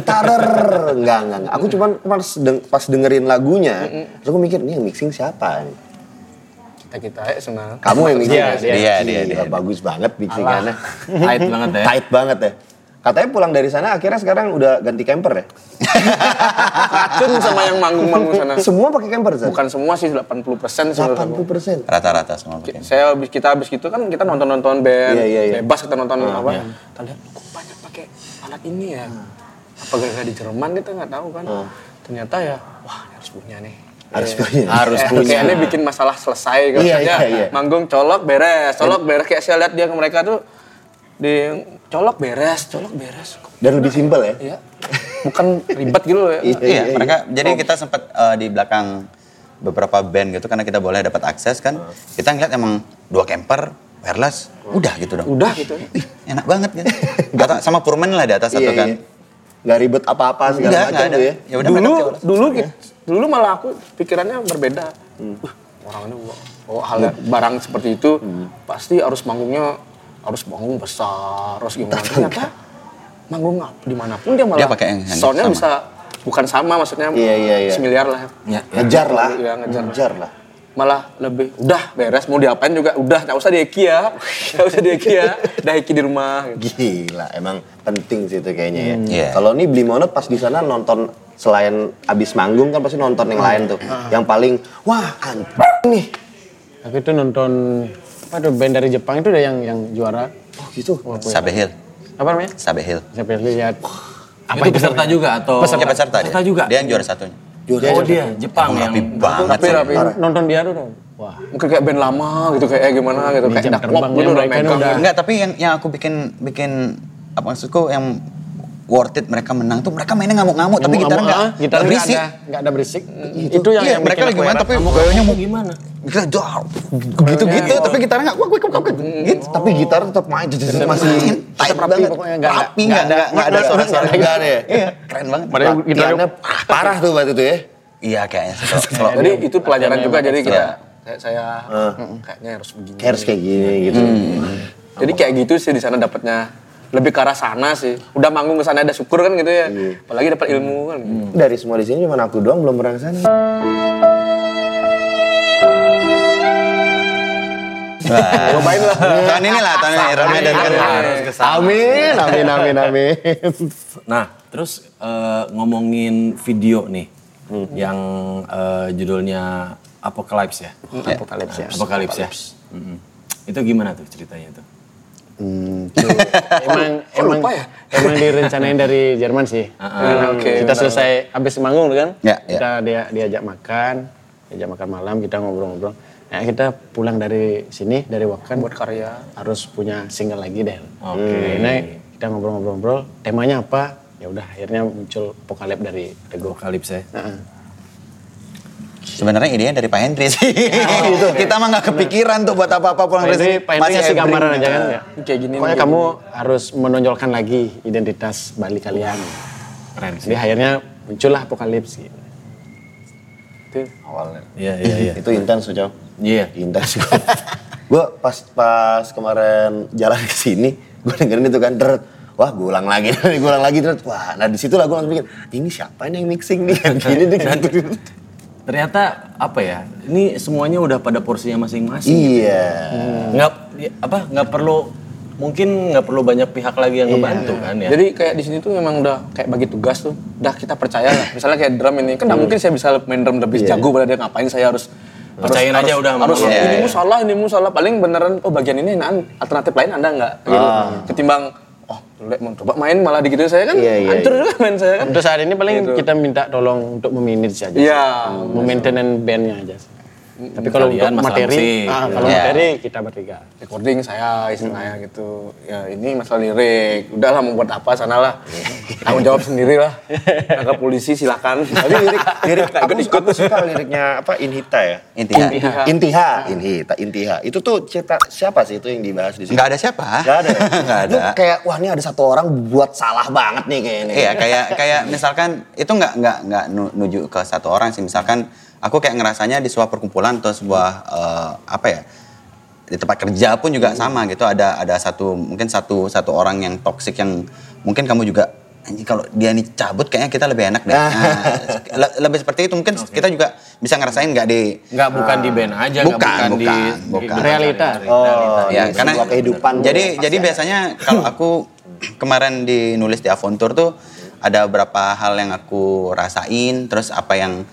Speaker 2: Gitarer, enggak enggak. enggak. Aku cuman pas, deng- pas dengerin lagunya, terus aku mikir ini yang mixing siapa?
Speaker 5: Kita kita ya senang.
Speaker 2: Kamu yang mixing.
Speaker 7: Iya,
Speaker 2: ya?
Speaker 1: iya. Iya, dia,
Speaker 2: Gila,
Speaker 1: dia,
Speaker 2: Bagus banget mixingannya.
Speaker 3: Tight banget ya.
Speaker 2: Tight banget ya. Katanya pulang dari sana akhirnya sekarang udah ganti camper ya?
Speaker 5: Racun sama yang manggung-manggung
Speaker 2: (laughs)
Speaker 5: sana.
Speaker 2: Semua pakai camper, Zan?
Speaker 5: Bukan semua sih 80 persen
Speaker 2: 80 persen.
Speaker 1: Rata-rata semua pakai.
Speaker 5: Saya habis kita habis gitu kan kita nonton-nonton band,
Speaker 2: Iya, iya, iya.
Speaker 5: bebas kita nonton
Speaker 3: Ah,
Speaker 5: apa.
Speaker 3: iya.
Speaker 5: Kita lihat kok banyak pakai alat ini ya.
Speaker 2: Hmm.
Speaker 5: Apa gara-gara di Jerman kita nggak tahu kan.
Speaker 1: Ah.
Speaker 5: Ternyata ya wah ini harus punya nih.
Speaker 2: Harus
Speaker 1: (laughs)
Speaker 2: punya.
Speaker 3: Harus
Speaker 5: Eh,
Speaker 3: punya.
Speaker 5: Kayaknya bikin masalah selesai kan.
Speaker 2: Iya,
Speaker 5: Maksudnya
Speaker 2: iya, iya.
Speaker 5: Manggung colok beres, colok beres kayak saya lihat dia ke mereka tuh di colok beres, colok beres.
Speaker 2: Dan lebih simpel ya?
Speaker 5: Iya. Bukan ribet gitu loh ya.
Speaker 2: Iya,
Speaker 1: Iya,
Speaker 2: iya.
Speaker 1: mereka jadi kita sempat eh, di
Speaker 2: Iya.
Speaker 1: belakang beberapa band gitu karena kita boleh dapat akses kan. Kita ngeliat emang dua camper wireless, udah gitu dong.
Speaker 3: Udah gitu.
Speaker 1: Ih, enak banget
Speaker 2: (laughs)
Speaker 1: gitu. Atau sama Purman lah di atas satu
Speaker 2: Iya,
Speaker 1: kan.
Speaker 2: iya. Nggak ribet apa-apa segala
Speaker 1: Enggak,
Speaker 2: macam
Speaker 1: enggak ada.
Speaker 2: tuh ya.
Speaker 1: Ya udah mereka
Speaker 3: dulu
Speaker 1: pakai wireless.
Speaker 3: dulu ki- dulu malah aku pikirannya berbeda
Speaker 1: Hmm.
Speaker 3: Wah, orang ini wah, oh hal barang seperti itu
Speaker 1: Hmm.
Speaker 3: pasti harus manggungnya harus manggung besar harus gimana ternyata manggung apa- dimanapun dia malah
Speaker 1: Dia pakai yang handphone
Speaker 3: soundnya
Speaker 1: sama.
Speaker 3: bisa bukan sama maksudnya
Speaker 2: Iya, iya, iya.
Speaker 3: semiliar lah
Speaker 1: Ya.
Speaker 2: Ngejar lah.
Speaker 3: Iya, ngejar.
Speaker 2: Ngejar lah.
Speaker 3: malah lebih udah beres mau diapain juga udah nggak usah dieki ya (laughs) nggak usah dieki ya dah eki di rumah gitu.
Speaker 2: Gila, emang penting sih itu kayaknya ya.
Speaker 1: Iya.
Speaker 2: Kalau nih beli monet pas di sana nonton selain abis manggung kan pasti nonton yang lain tuh. Yang paling wah anjing nih.
Speaker 5: Aku itu nonton apa tuh band dari Jepang itu ada yang yang juara.
Speaker 2: Oh gitu.
Speaker 1: Sabe Hill,
Speaker 5: Apa namanya?
Speaker 1: Sabe Hill.
Speaker 5: Saya lihat.
Speaker 4: Apa itu peserta juga atau
Speaker 1: Dia peserta dia.
Speaker 4: Peserta juga.
Speaker 1: Dia yang juara satunya.
Speaker 4: Oh dia Jepang yang
Speaker 1: Rapi banget
Speaker 3: tapi
Speaker 1: sih.
Speaker 3: tapi
Speaker 5: Nonton dia tuh. Wah,
Speaker 3: mungkin kayak band lama gitu kayak eh, gimana gitu
Speaker 5: Di
Speaker 3: kayak
Speaker 5: jam
Speaker 3: dak Pop
Speaker 5: terbang
Speaker 3: dulu
Speaker 5: yang
Speaker 3: udah
Speaker 5: mereka ini
Speaker 3: megang
Speaker 5: udah-
Speaker 1: Enggak, tapi yang yang aku bikin bikin apa maksudku yang worth it mereka menang tuh mereka mainnya ngamuk-ngamuk tapi gitar enggak
Speaker 5: Ngomong-ngomong, ah, gitar nggak
Speaker 1: berisik.
Speaker 5: ada, nggak ada berisik. Itu, yang,
Speaker 1: iya,
Speaker 5: yang
Speaker 1: mereka
Speaker 5: bikin
Speaker 1: lagi
Speaker 5: aku
Speaker 1: main
Speaker 5: heran.
Speaker 1: tapi gayanya mau gimana? Kita dar.
Speaker 2: Gitu,
Speaker 1: Gitu-gitu tapi gitarnya enggak kuat kuat kuat. kuat. Gitu.
Speaker 2: Tapi gitar tetap main jadi masih
Speaker 1: Masih tight
Speaker 5: rapi
Speaker 1: banget.
Speaker 5: pokoknya, nggak ada-
Speaker 1: Rapi enggak ada enggak ada suara-suara
Speaker 2: Nggak ada ya?
Speaker 1: Iya, keren banget.
Speaker 2: (laughs) Latihannya parah tuh waktu itu ya.
Speaker 1: Iya kayaknya sih, kalau- kalau
Speaker 3: jadi itu pelajaran juga jadi
Speaker 1: Iya.
Speaker 3: kita kayak saya
Speaker 2: Ah.
Speaker 3: kayaknya harus begini
Speaker 2: Kayak Harus kayak gini gitu.
Speaker 3: jadi kayak gitu sih di sana dapatnya lebih ke arah sana sih udah manggung ke sana ada syukur kan gitu ya
Speaker 4: Iya.
Speaker 3: apalagi dapat ilmu kan
Speaker 4: Hmm.
Speaker 2: Dari semua di sini cuma aku doang belum pernah kesana.
Speaker 1: Cobain lah.
Speaker 5: Iya.
Speaker 1: Tahun ini lah, tahun ini Ramadan kan.
Speaker 2: Amin, amin, amin, amin.
Speaker 4: Nah, terus eh, ngomongin video nih
Speaker 3: Hmm.
Speaker 4: yang eh, judulnya Apocalypse ya.
Speaker 3: Hmm.
Speaker 4: Apocalypse. Ya. Apocalypse ya. Mm-mm. Itu gimana tuh ceritanya tuh?
Speaker 5: emang
Speaker 1: Oh,
Speaker 5: emang
Speaker 1: ya?
Speaker 5: emang direncanain dari Jerman sih. Karena
Speaker 3: Oke,
Speaker 5: kita selesai habis manggung kan,
Speaker 1: Ya, ya.
Speaker 5: kita dia diajak makan, diajak makan malam kita ngobrol-ngobrol. Nah, kita pulang dari sini dari Wakan buat karya harus punya single lagi deh.
Speaker 4: Oke.
Speaker 5: Akhirnya kita ngobrol-ngobrol-ngobrol, temanya apa? Ya udah akhirnya muncul pokalep dari Tego.
Speaker 4: Apocalypse ya.
Speaker 1: Sebenarnya idenya dari Pak Hendri sih. Kita mah nggak kepikiran tuh buat apa-apa pulang
Speaker 5: Iya, Pak
Speaker 1: dari sini.
Speaker 5: Hendri, Pak Hendri ngasih
Speaker 1: evergreen.
Speaker 5: gambaran aja kan ya.
Speaker 3: kayak gini
Speaker 5: Pokoknya kamu harus menonjolkan lagi identitas Bali kalian.
Speaker 4: Keren sih.
Speaker 5: Jadi akhirnya muncullah apokalips gitu.
Speaker 2: (laughs) Awalnya.
Speaker 4: Iya, iya, iya.
Speaker 2: Itu intens tuh, Cok.
Speaker 4: Iya.
Speaker 2: Intens (laughs) gue. gue pas pas kemarin jalan ke sini, gue dengerin itu kan deret. Wah, gue ulang lagi, (laughs) gue ulang lagi deret. Wah, nah di situ lah gue langsung mikir, ini siapa nih yang mixing nih? (laughs) Yang gini nih gitu.
Speaker 4: Ternyata apa ya? Ini semuanya udah pada porsinya masing-masing.
Speaker 2: Iya.
Speaker 4: Nggak ya, apa nggak perlu mungkin nggak perlu banyak pihak lagi yang ngebantu kan ya.
Speaker 3: Jadi kayak di sini tuh memang udah kayak bagi tugas tuh, udah kita percaya lah. Misalnya kayak drum ini, kan nggak mungkin saya bisa main drum lebih jago pada dia ngapain saya Iya, harus
Speaker 4: Percayain
Speaker 3: harus-
Speaker 4: aja udah sama
Speaker 3: harus
Speaker 4: Allah.
Speaker 3: ini mu salah ini mu salah paling beneran oh bagian ini nan- alternatif lain anda nggak gitu. ketimbang oh jelek mau coba main malah digitu saya kan
Speaker 2: Iya, iya,
Speaker 3: hancur juga main saya kan
Speaker 5: Untuk saat ini paling kita minta tolong untuk memanage aja.
Speaker 3: Iya.
Speaker 5: Memaintain bandnya aja. sih. Tapi kalau
Speaker 4: Kalian
Speaker 5: untuk
Speaker 4: masalah
Speaker 5: materi,
Speaker 4: musik.
Speaker 5: ah, kalau
Speaker 1: Iya.
Speaker 5: materi kita bertiga.
Speaker 3: recording saya istilahnya gitu ya ini masalah lirik udahlah membuat apa sanalah tanggung jawab sendirilah tangkap polisi silakan
Speaker 2: Tapi lirik, lirik aku,
Speaker 3: Ikut- ikut.
Speaker 2: aku suka liriknya apa Inhita ya?
Speaker 1: Intinya
Speaker 2: Intiha, Inhita, Intiha. Itu tuh cerita siapa sih itu yang dibahas di sini?
Speaker 1: nggak ada siapa.
Speaker 2: Gak ada. ya?
Speaker 1: (laughs) Nggak
Speaker 2: Lu
Speaker 1: ada.
Speaker 2: kayak wah ini ada satu orang buat salah banget nih kayaknya.
Speaker 1: Iya kayak kayak misalkan itu nggak nggak nggak nu- nuju ke satu orang sih misalkan aku kayak ngerasanya di sebuah perkumpulan atau sebuah eh, apa ya di tempat kerja pun juga sama gitu ada ada satu mungkin satu satu orang yang toksik yang mungkin kamu juga anjing kalau dia nih cabut kayaknya kita lebih enak deh Nah, le- lebih seperti itu mungkin kita juga bisa ngerasain nggak di
Speaker 4: Nggak bukan di band aja, nggak
Speaker 1: Bukan,
Speaker 4: bukan, di,
Speaker 1: bukan,
Speaker 4: di-
Speaker 1: bukan.
Speaker 4: di-
Speaker 5: Realita.
Speaker 2: Oh,
Speaker 1: ya
Speaker 2: di
Speaker 1: karena
Speaker 2: sebuah kehidupan.
Speaker 1: jadi
Speaker 2: tuh pasti
Speaker 1: jadi
Speaker 2: ada.
Speaker 1: biasanya kalau aku kemarin di nulis di Avontur tuh ada beberapa hal yang aku rasain terus apa yang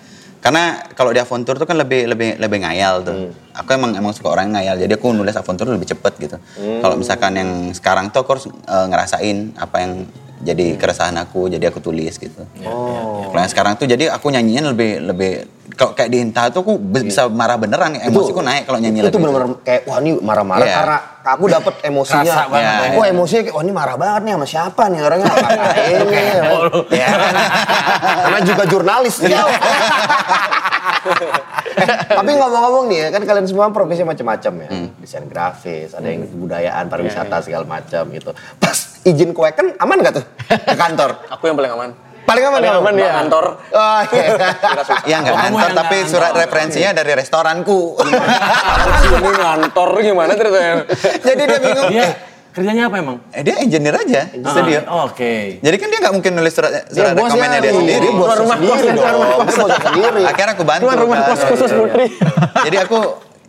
Speaker 1: karena kalau di Avontur tuh kan lebih lebih lebih ngayal tuh
Speaker 2: Hmm.
Speaker 1: aku emang emang suka orang ngayal jadi aku nulis Avontur lebih cepet gitu
Speaker 2: Hmm.
Speaker 1: kalau misalkan yang sekarang tuh aku harus eh, ngerasain apa yang
Speaker 2: Hmm.
Speaker 1: jadi keresahan aku jadi aku tulis gitu
Speaker 2: Oh.
Speaker 1: kalau yang sekarang tuh jadi aku nyanyinya lebih lebih kalau kayak di Inta tuh aku be- bisa marah beneran emosiku naik kalau nyanyi
Speaker 2: Hmm. itu
Speaker 1: lagu
Speaker 2: benar-benar kayak wah ini marah-marah
Speaker 1: Iya.
Speaker 2: karena aku dapat emosinya.
Speaker 4: Kerasa banget,
Speaker 2: Iya,
Speaker 1: ya.
Speaker 2: Wah emosinya kayak wah ini marah banget nih sama siapa nih orangnya ngapain nih. Karena juga jurnalis dia. Eh, Tapi ngomong-ngomong nih ya, kan kalian semua profesi macam-macam ya. Desain grafis, ada yang kebudayaan, pariwisata segala macam gitu. Pas izin kueken aman gak tuh ke kantor?
Speaker 6: Aku yang paling aman.
Speaker 2: Paling aman
Speaker 6: Paling
Speaker 2: nggak?
Speaker 6: aman ya kantor.
Speaker 2: Oh, iya.
Speaker 1: (laughs) Iya nggak
Speaker 4: Kamu
Speaker 1: ngantor,
Speaker 4: yang
Speaker 1: tapi
Speaker 4: ngantor.
Speaker 1: surat referensinya dari restoranku.
Speaker 6: Ini ngantor gimana ceritanya?
Speaker 2: Jadi dia bingung.
Speaker 4: Dia kerjanya apa emang?
Speaker 1: (laughs) eh, dia engineer aja, studio.
Speaker 4: Ah, Oke.
Speaker 1: Jadi kan dia nggak mungkin nulis surat, surat
Speaker 2: bos
Speaker 1: rekomennya
Speaker 2: ya,
Speaker 1: dia
Speaker 2: iya,
Speaker 1: sendiri.
Speaker 2: Dia bos
Speaker 6: rumah
Speaker 2: sendiri
Speaker 6: kos,
Speaker 2: dong.
Speaker 6: rumah
Speaker 2: Dia bos sendiri.
Speaker 1: Akhirnya aku bantu.
Speaker 6: Keluar rumah
Speaker 1: kan.
Speaker 6: kos khusus putri.
Speaker 1: (laughs) Jadi aku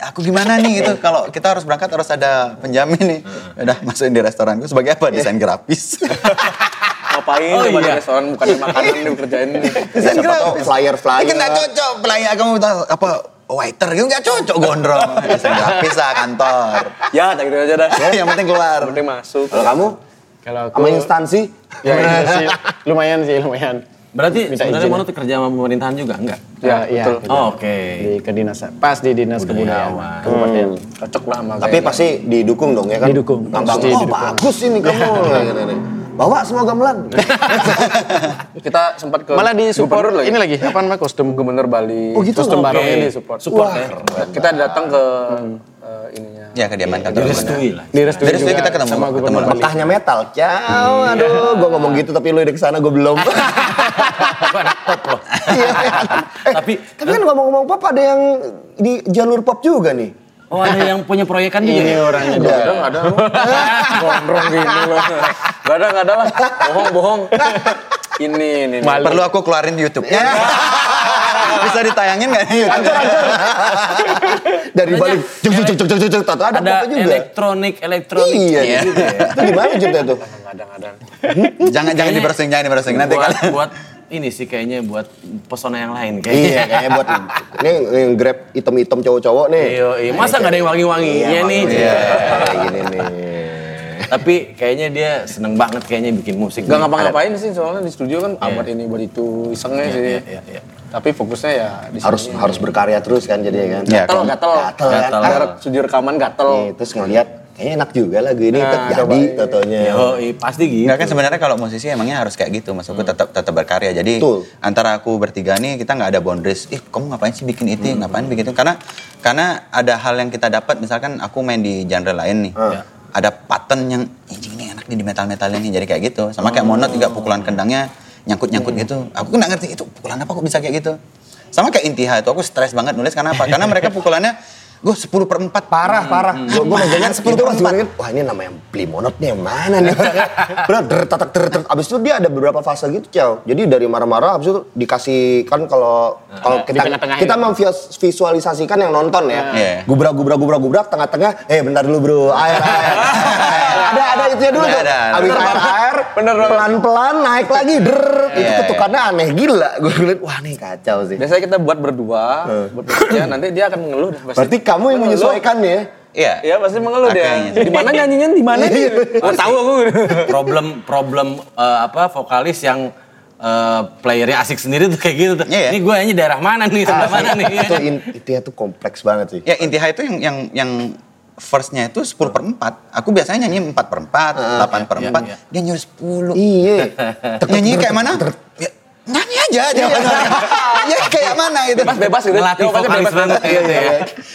Speaker 1: aku gimana nih itu kalau kita harus berangkat harus ada penjamin nih. Udah masukin di restoranku sebagai apa? Desain grafis.
Speaker 6: Ngapain
Speaker 4: Oh,
Speaker 6: coba di
Speaker 4: iya.
Speaker 6: restoran bukan di
Speaker 4: (laughs)
Speaker 6: makanan yang kerjain.
Speaker 1: Desain
Speaker 2: Siapa tahu flyer-flyer.
Speaker 1: Ini nggak cocok flyer kamu tahu apa waiter gitu nggak cocok gondrong. Desain grafis lah kantor.
Speaker 6: Ya, tak gitu aja dah.
Speaker 1: Yang penting keluar.
Speaker 6: Penting masuk.
Speaker 2: Kalau kamu
Speaker 5: Kalau aku
Speaker 2: sama instansi
Speaker 5: ya, iya sih, lumayan sih, lumayan.
Speaker 4: Berarti
Speaker 5: Minta
Speaker 4: sebenarnya
Speaker 5: izin
Speaker 4: Mono tuh kerja sama pemerintahan juga enggak?
Speaker 5: Ya, iya.
Speaker 6: betul.
Speaker 5: kerja
Speaker 4: Oh, Oke.
Speaker 5: Di kedinasan, pas di dinas kebudayaan.
Speaker 4: Budayawan.
Speaker 5: Kabupaten.
Speaker 6: Cocok lah sama
Speaker 2: tapi pasti didukung dong ya kan?
Speaker 5: Didukung.
Speaker 2: Gampang.
Speaker 5: Pasti
Speaker 2: Oh,
Speaker 5: didukung.
Speaker 2: bagus ini kamu. Bawa semua gamelan.
Speaker 6: kita sempat ke
Speaker 5: Malah di support
Speaker 6: gubernur
Speaker 5: ini lagi, apa namanya kostum
Speaker 6: gubernur Bali.
Speaker 2: Oh, gitu?
Speaker 6: Kostum
Speaker 2: Oke.
Speaker 6: barongnya di support.
Speaker 4: Support ya.
Speaker 6: Kita datang ke eh, ininya.
Speaker 1: Ya kediaman kantor.
Speaker 4: Direstui lah.
Speaker 5: direstui
Speaker 1: Jadi
Speaker 5: juga
Speaker 1: kita ketemu
Speaker 5: sama
Speaker 1: ketemu
Speaker 5: gubernur Bali.
Speaker 2: Petahnya metal. Ciao, aduh, gua ngomong gitu tapi lu udah kesana gua belum. Iya. Eh,
Speaker 4: Tapi-
Speaker 2: tapi kan ngomong-ngomong pop ada yang di jalur pop juga nih.
Speaker 4: Oh ada yang punya proyekan juga ya?
Speaker 6: orangnya ada. Ada nggak ada? Gondrong gini loh. Gak ada (laughs) nggak ada lah. Bohong bohong. Ini ini. ini.
Speaker 1: Perlu aku keluarin di YouTube. Bisa ditayangin nggak di YouTube?
Speaker 2: Dari balik cuk cuk cuk cuk cuk cuk tahu ada,
Speaker 4: Ada
Speaker 2: popnya juga.
Speaker 4: elektronik elektronik.
Speaker 2: Iya.
Speaker 1: Iya.
Speaker 2: Itu di mana ceritanya tuh?
Speaker 1: Jangan jangan
Speaker 4: Kayaknya-
Speaker 1: dibersing, jangan dibersing nanti kan
Speaker 4: buat,
Speaker 1: kalian.
Speaker 4: buat ini sih kayaknya buat pesona yang lain kayaknya.
Speaker 2: Iya, kayaknya buat ini yang grab item-item cowok-cowok nih.
Speaker 4: Iya, iya. Masa nggak ada yang wangi-wanginya nih?
Speaker 2: Iya, kayak gini nih.
Speaker 4: Tapi kayaknya dia seneng banget kayaknya bikin musik.
Speaker 6: Gak ngapa-ngapain sih soalnya di studio kan amat ini buat itu isengnya sih.
Speaker 4: Iya, iya, iya.
Speaker 6: Tapi fokusnya ya di sini.
Speaker 2: Harus harus berkarya terus kan jadinya kan.
Speaker 1: Iya,
Speaker 6: gatel,
Speaker 1: kalau-
Speaker 6: gatel,
Speaker 2: Gatel,
Speaker 4: gatel. Iya.
Speaker 6: Karena studio rekaman gatel.
Speaker 2: Nih, terus ngeliat kayaknya enak juga lagu ini tet, jadi totonya.
Speaker 4: Oh, iya, pasti gitu.
Speaker 1: Enggak kan sebenarnya kalau musisi emangnya harus kayak gitu, maksudku tetap tetap berkarya. Jadi
Speaker 2: Hmm. Betul.
Speaker 1: antara aku bertiga nih kita nggak ada boundaries. Ih, kamu ngapain sih bikin itu,
Speaker 2: Hmm.
Speaker 1: ngapain bikin itu? Karena karena ada hal yang kita dapat misalkan aku main di genre lain nih.
Speaker 2: Ah.
Speaker 1: Ada pattern yang anjing ini enak nih di metal-metalnya nih. Jadi kayak gitu. Sama kayak Monot
Speaker 2: Oh.
Speaker 1: juga pukulan kendangnya nyangkut-nyangkut
Speaker 2: Hmm.
Speaker 1: gitu. Aku nggak ngerti itu pukulan apa kok bisa kayak gitu. Sama kayak Intiha itu aku stres banget nulis karena apa? Karena mereka pukulannya gue 10 per Hmm. 4
Speaker 2: Parah, parah. Gue gue megangnya
Speaker 1: Apaan?
Speaker 2: sepuluh
Speaker 1: 10
Speaker 2: itu pas
Speaker 1: perempat.
Speaker 2: gue inget, wah ini nama yang beli monotnya yang mana nih. (laughs) Bener, der, tatak, der, der. Abis itu dia ada beberapa fase gitu, Ciao. Jadi dari marah-marah, abis itu dikasih, kan kalau
Speaker 1: Nah,
Speaker 2: kalau kita
Speaker 5: tengah-tengahin.
Speaker 2: kita memvisualisasikan yang nonton ya.
Speaker 1: Iya.
Speaker 2: Gubrak, gubrak, gubrak, gubrak, tengah-tengah, eh bentar dulu bro, air,
Speaker 1: (laughs)
Speaker 2: air. air. ya." ada, ada itunya dulu
Speaker 1: Ada,
Speaker 2: tuh.
Speaker 1: ada, ada. (laughs)
Speaker 2: Abis
Speaker 1: Bener,
Speaker 2: air, air, pelan-pelan naik lagi, der. Itu
Speaker 1: Iya,
Speaker 2: ketukannya aneh, gila. Gue ngeliat, wah ini kacau sih.
Speaker 6: Biasanya kita buat berdua, buat berdua, nanti dia akan mengeluh. dah pasti.
Speaker 2: Berarti kamu yang
Speaker 6: Mengeluh.
Speaker 2: menyesuaikan ya.
Speaker 1: Iya.
Speaker 6: Iya pasti mengeluh dia.
Speaker 1: Makanya.
Speaker 6: Di mana nyanyinya di mana? Oh, tahu aku.
Speaker 4: problem problem eh, apa vokalis yang eh, playernya asik sendiri tuh kayak gitu tuh.
Speaker 1: Iya, iya.
Speaker 4: Ini gue nyanyi daerah mana nih, sebelah mana nih.
Speaker 2: itu in- intinya tuh kompleks banget sih.
Speaker 1: Ya Intiha itu yang yang yang firstnya itu 10 per 4. Aku biasanya nyanyi 4 per 4, 8 per 4.
Speaker 4: iya.
Speaker 1: Dia nyuruh 10.
Speaker 2: Iya.
Speaker 1: Nyanyi kayak mana? Ya, nyanyi aja
Speaker 4: Iya.
Speaker 1: jawabannya. ya kayak mana gitu.
Speaker 6: Bebas bebas gitu.
Speaker 4: Melatih vokalis
Speaker 6: bebas
Speaker 4: banget
Speaker 6: bebas.
Speaker 4: gitu ya.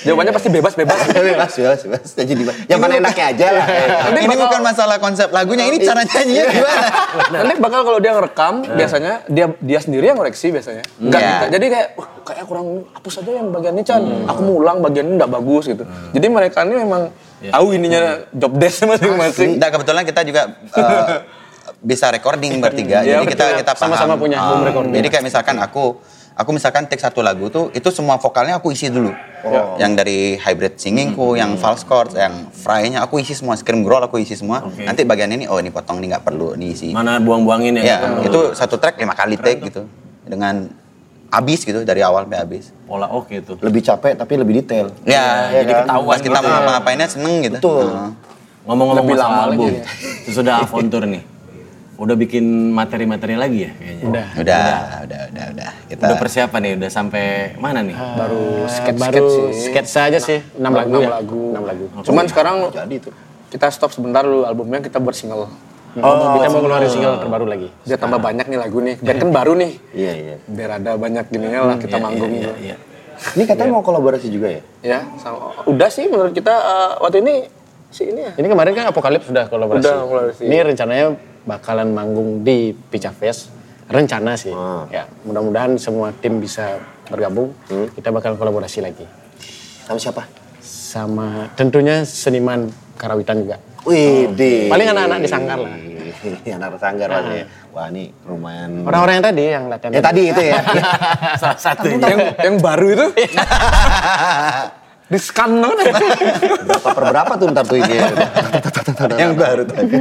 Speaker 6: Jawabannya pasti bebas
Speaker 2: (laughs)
Speaker 6: bebas.
Speaker 2: bebas, bebas, bebas. Jadi bebas. Yang mana enaknya aja lah. Eh,
Speaker 1: Ini bukan masalah konsep lagunya, ini cara nyanyinya
Speaker 4: Iya.
Speaker 1: gimana?
Speaker 6: Nanti bakal kalau dia ngerekam
Speaker 5: Nah.
Speaker 6: biasanya dia dia sendiri yang ngoreksi biasanya. Enggak
Speaker 1: Iya.
Speaker 6: kita. Jadi kayak "Wah, kayak kurang hapus aja yang bagian ini Chan.
Speaker 5: Hmm.
Speaker 6: Aku mau ulang bagian ini enggak bagus gitu. Jadi mereka ini memang
Speaker 5: Iya.
Speaker 6: tahu ininya
Speaker 5: Hmm.
Speaker 6: job desk masing-masing.
Speaker 1: Nah kebetulan kita juga eh, bisa recording bertiga.
Speaker 6: Iya,
Speaker 1: jadi kita
Speaker 6: betul.
Speaker 1: kita paham.
Speaker 5: Sama-sama punya
Speaker 1: Ah,
Speaker 5: home recording.
Speaker 1: Jadi kayak misalkan aku aku misalkan take satu lagu tuh itu semua vokalnya aku isi dulu. Ya. Yang dari hybrid singingku, yang false chords, yang fry-nya aku isi semua, scream growl aku isi semua. Nanti bagian ini oh ini potong ini nggak perlu diisi.
Speaker 4: Mana buang-buangin yang
Speaker 1: Ya, itu satu track lima kali take gitu. Dengan abis gitu dari awal sampai abis.
Speaker 4: pola oh, gitu. oke tuh.
Speaker 2: Lebih capek tapi lebih detail.
Speaker 1: Ya,
Speaker 2: Iya
Speaker 1: jadi
Speaker 2: kan?
Speaker 1: ketahuan pas kita mau ngapainnya seneng gitu.
Speaker 2: Betul.
Speaker 1: Heeh.
Speaker 4: Ngomong-ngomong
Speaker 6: Lebih lama
Speaker 4: masalah album,
Speaker 6: lagi ya.
Speaker 4: terus udah Aventur nih. Udah bikin materi-materi lagi ya kayaknya? Udah.
Speaker 1: Udah, udah, udah, udah. Kita
Speaker 4: Udah persiapan nih, udah sampai mana nih?
Speaker 6: Ah,
Speaker 5: Baru sketch baru sketsa aja sih, 6 lagu ya. 6 lagu.
Speaker 6: Nah, Cuman sekarang kita stop sebentar dulu albumnya kita buat single.
Speaker 5: Oh, kita mau ngeluarin single Nah. terbaru lagi.
Speaker 6: Biar tambah banyak nih lagu nih. Dan kan baru nih.
Speaker 2: Iya, iya.
Speaker 6: Biar ada banyak gininya lah kita manggung.
Speaker 4: Iya,
Speaker 6: gitu.
Speaker 4: iya.
Speaker 2: Ini katanya mau kolaborasi juga ya?
Speaker 6: ya sama- udah sih menurut kita eh, waktu ini sih ini ya
Speaker 5: Ini kemarin kan Apokalips sudah kolaborasi.
Speaker 6: Udah kolaborasi.
Speaker 5: Ini rencananya bakalan manggung di Pica Fest. Rencana sih. Ya, mudah-mudahan semua tim bisa bergabung. Kita bakal kolaborasi lagi
Speaker 2: Sama siapa?
Speaker 5: sama tentunya seniman Karawitan juga.
Speaker 2: Wih, di.
Speaker 5: Paling anak-anak di Sanggar lah.
Speaker 2: Hmm. anak sanggar lah ya. Wah, ini lumayan.
Speaker 5: Orang-orang yang tadi yang latihan.
Speaker 2: Ya tadi itu ya.
Speaker 4: Salah satunya.
Speaker 3: ya.
Speaker 6: yang (laughs) yang baru itu di scan
Speaker 2: berapa per berapa tuh ntar tuh ini. Yang baru tadi.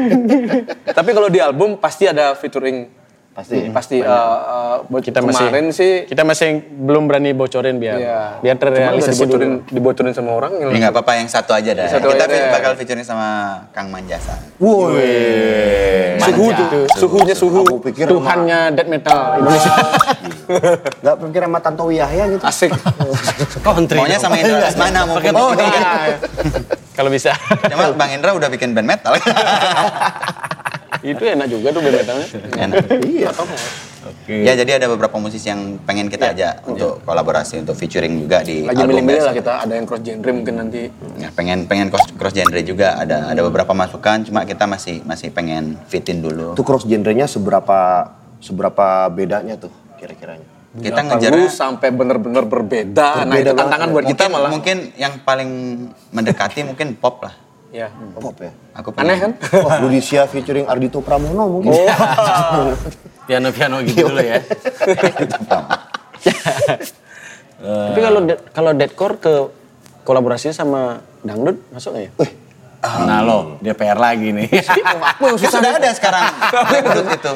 Speaker 6: tapi kalau di album pasti ada featuring
Speaker 2: Pasti ya?
Speaker 6: pasti eh, eh, buat
Speaker 5: kita masih
Speaker 6: kemarin sih
Speaker 5: kita masih belum berani bocorin biar
Speaker 3: Iya.
Speaker 6: ya
Speaker 5: biar terrealisasi
Speaker 6: Cuma dibocorin
Speaker 5: dulu.
Speaker 6: dibocorin sama orang yang
Speaker 1: Ya nggak apa-apa yang satu aja dah.
Speaker 6: Satu
Speaker 1: Kita
Speaker 6: aja.
Speaker 1: bakal featuring sama Kang Manjasa.
Speaker 6: suhu tuh suhunya suhu
Speaker 2: Aku pikir sama-
Speaker 5: Tuhannya death metal Indonesia.
Speaker 2: Gak pikir sama Tantowi Yahya gitu.
Speaker 6: asik
Speaker 4: Country.
Speaker 1: Maunya sama Indra
Speaker 6: Iya.
Speaker 1: Lesmana mau
Speaker 4: Pakai
Speaker 1: oh,
Speaker 6: (laughs)
Speaker 5: Kalau bisa.
Speaker 1: Cuma Bang Indra udah bikin band metal.
Speaker 5: itu enak juga tuh band metalnya.
Speaker 1: Enak.
Speaker 6: Iya.
Speaker 1: Ya jadi ada beberapa musisi yang pengen kita ajak untuk kolaborasi untuk featuring juga di
Speaker 6: Iya. lagi
Speaker 1: album
Speaker 6: milih-milih lah
Speaker 1: besok.
Speaker 6: kita ada yang cross genre mungkin nanti
Speaker 1: Ya, pengen pengen cross, cross genre juga ada ada beberapa masukan cuma kita masih masih pengen fitin dulu.
Speaker 2: Itu cross genrenya seberapa seberapa bedanya tuh kira-kiranya?
Speaker 1: Kita
Speaker 6: Nah,
Speaker 1: ngejar
Speaker 6: baru sampai bener-bener berbeda nah itu
Speaker 2: Berbeda banget
Speaker 6: tantangan buat kita
Speaker 1: mungkin
Speaker 6: malah
Speaker 1: mungkin yang paling mendekati mungkin pop lah.
Speaker 6: ya
Speaker 2: Pop ya.
Speaker 1: Aku pengen-
Speaker 6: aneh kan
Speaker 2: Oh, Ludicia featuring Ardito Pramono mungkin.
Speaker 4: Piano-piano gitu dulu
Speaker 2: Iya.
Speaker 4: ya.
Speaker 6: Nah.
Speaker 5: Tapi kalau de- kalau deadcore ke kolaborasi sama dangdut masuk nggak ya?
Speaker 4: Nah lo, DPR lagi nih.
Speaker 1: Kan sudah ada
Speaker 5: (laughs)
Speaker 1: sekarang Black Dangdut itu.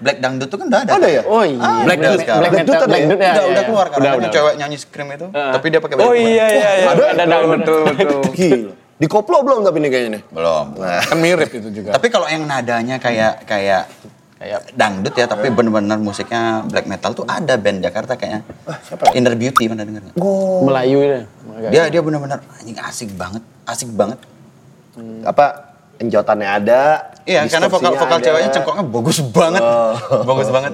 Speaker 1: Black Dangdut itu kan udah ada.
Speaker 2: Ada ya?
Speaker 5: Oh iya.
Speaker 1: Black Dut sekarang.
Speaker 5: Black
Speaker 2: Black Dut
Speaker 5: metal,
Speaker 2: ada
Speaker 5: Black
Speaker 6: iya,
Speaker 2: ya?
Speaker 5: Dut ya.
Speaker 1: udah,
Speaker 5: ya,
Speaker 1: udah
Speaker 5: ya.
Speaker 1: keluar kan
Speaker 5: Udah,
Speaker 1: ada
Speaker 5: udah.
Speaker 1: cewek nyanyi scream itu. Tapi dia pakai
Speaker 6: oh iya iya iya
Speaker 2: Ada, ada,
Speaker 6: betul betul betul
Speaker 2: (laughs) Gila. Dikoplo belum tapi nih kayaknya nih.
Speaker 1: Belum. Nah.
Speaker 6: kan mirip itu juga
Speaker 1: Tapi kalau yang nadanya kayak kayak kayak dangdut ya, tapi bener-bener musiknya black metal tuh ada band Jakarta kayaknya.
Speaker 5: Ah, ya?
Speaker 1: Inner Beauty pernah denger nggak?
Speaker 5: Melayu ya.
Speaker 1: Dia dia bener-bener anjing asik banget, asik banget.
Speaker 2: Apa enjotannya ada?
Speaker 1: Iya, karena vokal
Speaker 2: distorsinya
Speaker 1: vokal
Speaker 2: ada.
Speaker 1: ceweknya cengkoknya bagus banget.
Speaker 5: Oh.
Speaker 1: Bagus banget.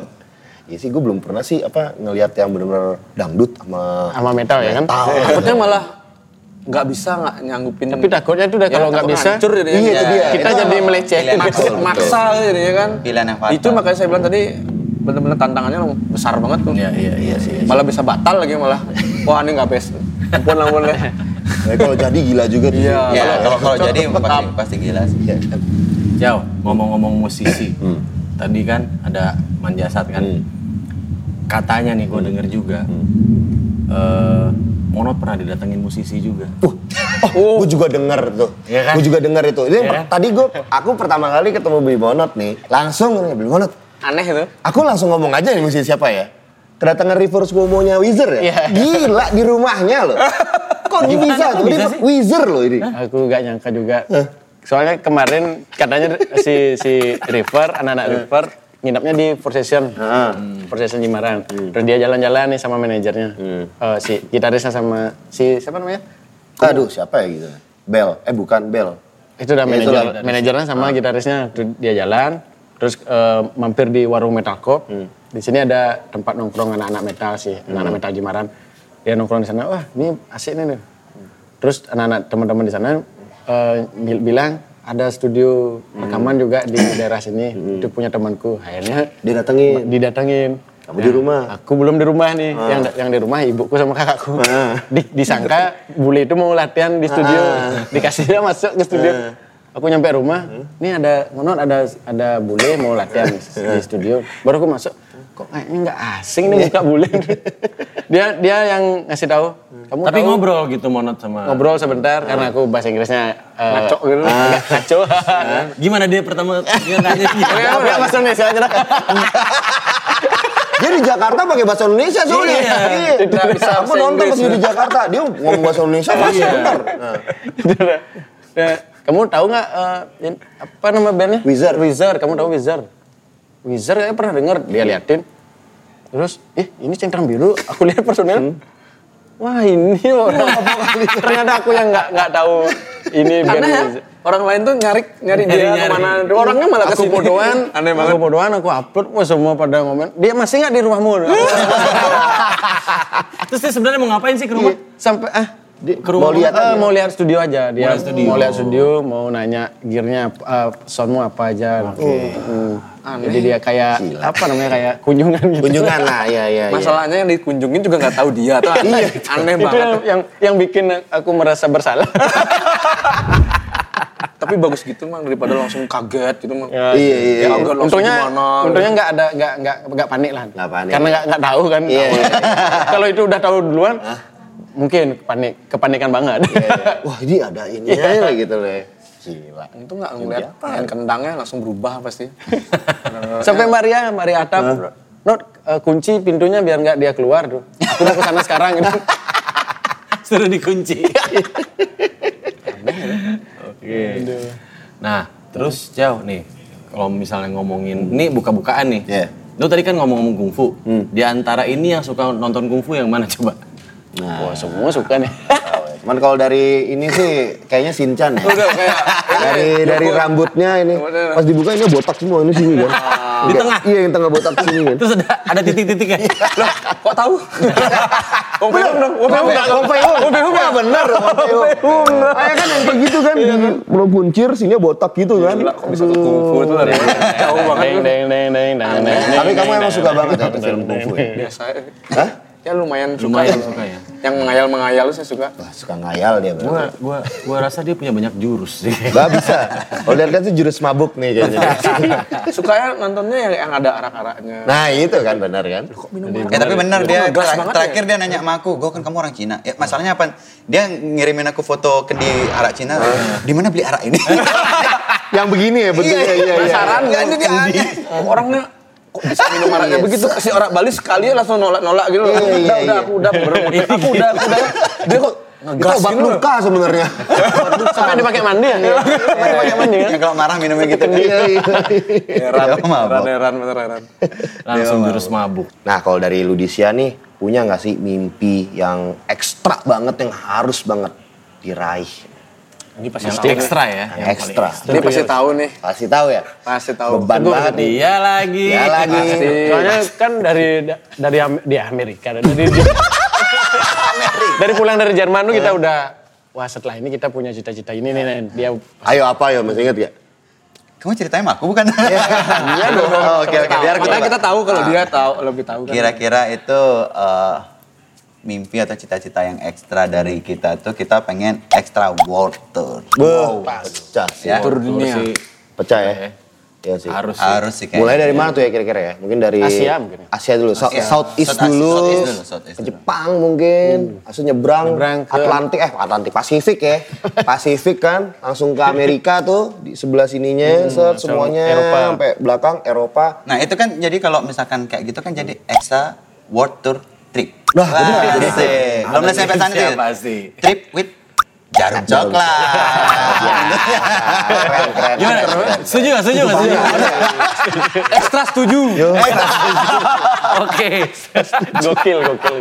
Speaker 2: Iya sih, gue belum pernah sih apa ngelihat yang bener-bener dangdut sama
Speaker 5: Sama metal ya kan.
Speaker 3: Iya,
Speaker 6: takutnya malah nggak bisa nggak nyanggupin
Speaker 5: Tapi takutnya
Speaker 4: Nah,
Speaker 5: itu udah
Speaker 6: Ya,
Speaker 5: kalau nggak bisa
Speaker 6: iya
Speaker 2: Iya, itu dia.
Speaker 5: kita
Speaker 2: Itu
Speaker 5: jadi melecehkan.
Speaker 1: pilihan yang
Speaker 6: maksa,
Speaker 1: fatal, betul.
Speaker 6: maksa gitu ya kan
Speaker 1: Pilihan yang fatal.
Speaker 6: itu makanya saya bilang tadi bener-bener tantangannya besar banget tuh
Speaker 4: Iya, iya, iya sih.
Speaker 6: malah bisa batal lagi malah wah ini nggak best ampun ampun ya. deh
Speaker 2: Nah, kalau jadi gila juga tuh.
Speaker 6: Iya.
Speaker 1: Ya,
Speaker 6: Kalau-
Speaker 1: kalau kalau jadi pasti pasti gila sih.
Speaker 2: Iya.
Speaker 4: Jauh, ngomong-ngomong musisi. Tadi kan ada Manjasat kan. Katanya nih gue denger juga. eh, Monod pernah didatengin musisi juga.
Speaker 2: Oh, gue juga denger tuh.
Speaker 4: Iya kan?
Speaker 2: Gue juga denger itu. Ini
Speaker 4: Iya kan?
Speaker 2: tadi gue, aku pertama kali ketemu Billy Bonot nih, langsung nih Billy Bonot.
Speaker 6: aneh itu
Speaker 2: Aku langsung ngomong aja nih musisi siapa ya? Kedatangan reverse Cuomo-nya Weezer ya? Gila di rumahnya loh. Kok bisa tuh? Ini Weezer loh ini.
Speaker 5: Aku nggak nyangka juga. Soalnya kemarin katanya si si River, anak-anak River nginapnya di Four Season, Four Season Jimbaran. Terus dia jalan-jalan nih sama manajernya, Eh, si gitarisnya sama si siapa namanya?
Speaker 2: Aduh siapa ya gitu? Bel, eh bukan Bel.
Speaker 5: Itu udah
Speaker 2: Ya,
Speaker 5: manajer,
Speaker 2: itulah.
Speaker 5: manajernya sama gitarisnya. Terus dia jalan, terus eh, mampir di warung metalcore. Di sini ada tempat nongkrong anak-anak metal sih, anak-anak metal Jimbaran. Dia nongkrong di sana, wah ini asik nih. nih. Terus anak-anak teman-teman di sana eh, bil- bilang ada studio rekaman juga di daerah sini. Itu punya temanku. Akhirnya
Speaker 2: Didatengin.
Speaker 5: didatengin. Nah,
Speaker 2: Kamu di rumah?
Speaker 5: Aku belum di rumah nih. Yang yang di rumah ibuku sama kakakku.
Speaker 2: Ah.
Speaker 5: Di- disangka bule itu mau latihan di studio.
Speaker 2: Ah.
Speaker 5: Dikasih dia masuk ke studio. Aku nyampe rumah, nih ada monon ada ada bule mau latihan di,
Speaker 2: Ah.
Speaker 5: di studio. Baru aku masuk, kok kayaknya nggak asing nih muka
Speaker 2: (laughs)
Speaker 5: bule. gitu. dia dia yang ngasih tahu. Kamu
Speaker 4: Tapi
Speaker 5: tahu-
Speaker 4: ngobrol gitu Monod sama...
Speaker 5: ngobrol sebentar karena aku bahasa Inggrisnya uh, ngaco gitu. Agak ngaco.
Speaker 2: Ah.
Speaker 4: Gimana dia pertama dia nanya
Speaker 5: (laughs)
Speaker 2: Iya,
Speaker 5: Oke,
Speaker 4: gitu?
Speaker 5: oke, bahasa Indonesia aja lah.
Speaker 2: Dia di Jakarta pakai bahasa Indonesia soalnya. (laughs)
Speaker 4: Iya.
Speaker 6: Tidak bisa
Speaker 2: Aku
Speaker 6: bahasa
Speaker 2: nonton pas
Speaker 6: Inggris.
Speaker 2: dia di Jakarta, dia ngomong bahasa
Speaker 6: (laughs)
Speaker 2: Indonesia pasti benar. Nah,
Speaker 5: Iya. Nah, kamu tahu nggak eh, yang- apa nama bandnya?
Speaker 2: Wizard.
Speaker 5: Wizard. Kamu tahu Wizard? Wizard kayaknya pernah dengar. Dia liatin. Terus, ih ini centang biru. Aku lihat
Speaker 6: Hmm.
Speaker 5: personil. Wah ini orang. Ternyata aku yang nggak nggak tahu ini band
Speaker 6: aneh ya
Speaker 5: Wizard.
Speaker 6: orang lain tuh nyari nyari dia
Speaker 4: Nyari-nyari.
Speaker 6: kemana orangnya malah
Speaker 5: aku
Speaker 6: kesini
Speaker 5: bodohan,
Speaker 6: aneh
Speaker 5: aku
Speaker 6: banget (laughs)
Speaker 5: bodohan, aku upload, wah semua pada ngomen. Dia masih nggak di rumahmu?
Speaker 3: Terus dia sebenarnya mau ngapain sih ke rumah?
Speaker 5: sampai ah di-
Speaker 3: Ke rumah
Speaker 5: mau lihat
Speaker 3: aja.
Speaker 5: eh, mau lihat studio aja dia
Speaker 3: Mau lihat studio.
Speaker 5: mau lihat studio mau nanya gearnya eh, soundmu apa aja Hmm. jadi dia kayak apa namanya kayak kunjungan gitu (laughs)
Speaker 2: Kunjungan lah, ya ya. ya.
Speaker 4: Masalahnya yang dikunjungin juga nggak tahu dia tuh
Speaker 3: Iya,
Speaker 4: aneh, aneh
Speaker 5: Iya, Nah, gitu. itu
Speaker 4: banget.
Speaker 5: yang, yang yang bikin aku merasa bersalah
Speaker 4: Tapi bagus gitu mang daripada langsung kaget gitu mang.
Speaker 2: Iya iya.
Speaker 6: Ya,
Speaker 2: iya.
Speaker 4: Agak langsung
Speaker 5: untungnya
Speaker 4: gimana,
Speaker 5: untungnya nggak ada nggak nggak nggak panik lah
Speaker 2: Nggak panik.
Speaker 5: karena nggak nggak tahu kan
Speaker 2: Iya, iya.
Speaker 5: (laughs) kalau itu udah tahu duluan mungkin panik kepanikan banget
Speaker 2: (laughs) Wah ini ada ini
Speaker 6: Iya.
Speaker 2: aja lah gitu loh. ya. Gila.
Speaker 4: Untung nggak ngeliat main kendangnya langsung berubah pasti.
Speaker 5: sampai Maria Maria Atap Not kunci pintunya biar nggak dia keluar tuh. Aku mau ke sana sekarang gitu.
Speaker 3: Suruh dikunci.
Speaker 4: Iya.
Speaker 3: Oke. Nah, terus jauh nih. Kalau misalnya ngomongin, ini buka-bukaan nih.
Speaker 2: Iya.
Speaker 3: Lu tadi kan ngomong-ngomong kungfu. Di antara ini yang suka nonton kungfu yang mana coba?
Speaker 5: Wah, semua suka
Speaker 4: (laughs)
Speaker 5: nih.
Speaker 2: Cuman kalau dari ini sih kayaknya Sinchan ya.
Speaker 4: Udah kayak
Speaker 2: Dari dari rambutnya ini pas dibuka ini botak semua ini sini kan.
Speaker 3: Di tengah?
Speaker 2: Iya yang tengah botak sini kan.
Speaker 3: Terus ada ada titik-titiknya.
Speaker 4: ya? kok tahu? Om Peung dong, Om Peung dong.
Speaker 2: Wah bener. Kayak kan yang begitu kan di belum puncir sini botak gitu kan.
Speaker 4: Kok bisa ke kungfu itu dari jauh banget.
Speaker 5: Deng deng deng deng deng deng.
Speaker 2: Tapi kamu emang suka banget ya film kungfu ya?
Speaker 4: Biasa.
Speaker 2: Hah?
Speaker 4: Ya lumayan suka.
Speaker 3: Lumayan
Speaker 4: ya.
Speaker 3: suka ya.
Speaker 4: Yang mengayal-mengayal saya suka.
Speaker 2: Wah, suka ngayal dia berarti.
Speaker 3: Gua, gua, gua rasa dia punya banyak jurus sih. (laughs)
Speaker 2: Bah bisa. Kalau lihat tuh jurus mabuk nih (laughs) kayaknya.
Speaker 4: Sukanya ya nontonnya yang, yang ada arak-araknya.
Speaker 2: Nah itu kan benar kan.
Speaker 1: Ya tapi benar dia
Speaker 4: ngegas
Speaker 1: terak-
Speaker 4: banget
Speaker 1: terakhir dia nanya sama aku, gue kan kamu orang Cina. Ya, masalahnya apa? Dia ngirimin aku foto ke di arak Cina. Di mana beli
Speaker 2: (laughs)
Speaker 1: arak ini?
Speaker 2: Yang begini ya bentuknya. Ah. Iya, iya.
Speaker 4: Penasaran
Speaker 1: Nggak,
Speaker 4: kan?
Speaker 1: ini dia aneh.
Speaker 4: Orangnya kok bisa minum araknya begitu si orang Bali sekali langsung nolak-nolak gitu loh.
Speaker 2: Iya, iya,
Speaker 4: Udah, udah,
Speaker 2: iya.
Speaker 4: aku udah bro. Aku udah, aku udah. Dia kok
Speaker 2: Itu
Speaker 4: ngegas
Speaker 2: obat
Speaker 4: gitu loh.
Speaker 2: luka (laughs) sebenarnya.
Speaker 5: Sampai dipakai mandi ya? Sampai dipakai mandi kan?
Speaker 1: Yang ya? kalau marah minumnya gitu. (laughs)
Speaker 2: Iya, ya. iya.
Speaker 1: Heran,
Speaker 4: Heran, heran, bener heran.
Speaker 3: Langsung jurus mabuk.
Speaker 2: Nah kalau dari Ludisia nih punya nggak sih mimpi yang ekstra banget yang harus banget diraih?
Speaker 3: Ini pasti yang ekstra ya.
Speaker 2: Yang ekstra.
Speaker 4: Dia pasti tahu nih.
Speaker 2: Pasti tahu ya.
Speaker 4: Pasti tahu.
Speaker 2: Beban banget nih.
Speaker 3: Dia lagi.
Speaker 2: Ya lagi.
Speaker 5: Soalnya kan dari dari Am- di Amerika dari dari, dari pulang dari Jerman tuh kita udah wah setelah ini kita punya cita-cita ini nih Nen." dia
Speaker 2: Ayo apa ya masih inget gak?
Speaker 1: Kamu ceritain sama aku bukan? Iya
Speaker 4: dong.
Speaker 1: Oke oke biar
Speaker 4: Kita
Speaker 1: kita
Speaker 4: kita tahu kalau dia tahu lebih tahu
Speaker 1: Iya.
Speaker 4: kan.
Speaker 1: (laughs) Kira-kira itu eh, mimpi atau cita-cita yang ekstra dari kita tuh kita pengen extra world tour.
Speaker 2: Wow. Pecah sih.
Speaker 1: Ya.
Speaker 4: Tur dunia.
Speaker 2: Pecah ya. Iya sih.
Speaker 3: Harus sih.
Speaker 1: Harus sih kayaknya.
Speaker 2: Mulai dari mana tuh ya kira-kira ya? Mungkin dari
Speaker 5: Asia mungkin.
Speaker 2: Asia dulu, South,
Speaker 1: Asia.
Speaker 2: Southeast
Speaker 1: South Asia,
Speaker 2: dulu,
Speaker 1: Southeast dulu, Southeast
Speaker 2: ke
Speaker 1: dulu.
Speaker 2: Jepang mungkin, langsung nyebrang,
Speaker 5: Nyebrang ke-
Speaker 2: Atlantik eh Atlantik Pasifik ya, Pasifik kan, langsung ke Amerika tuh di sebelah sininya, set semuanya
Speaker 5: Eropa.
Speaker 2: sampai belakang Eropa.
Speaker 1: Nah itu kan jadi kalau misalkan kayak gitu kan jadi extra world tour trip.
Speaker 2: Wah, bener.
Speaker 1: asik. Kalau misalnya sampai sana
Speaker 3: Indonesia
Speaker 1: tuh,
Speaker 3: pasti.
Speaker 1: Trip with jarum coklat.
Speaker 2: Keren keren.
Speaker 4: Iya.
Speaker 3: Gimana? Setuju nggak? Setuju nggak? Setuju.
Speaker 4: Ekstra setuju.
Speaker 3: Oke.
Speaker 5: gokil gokil. gokil.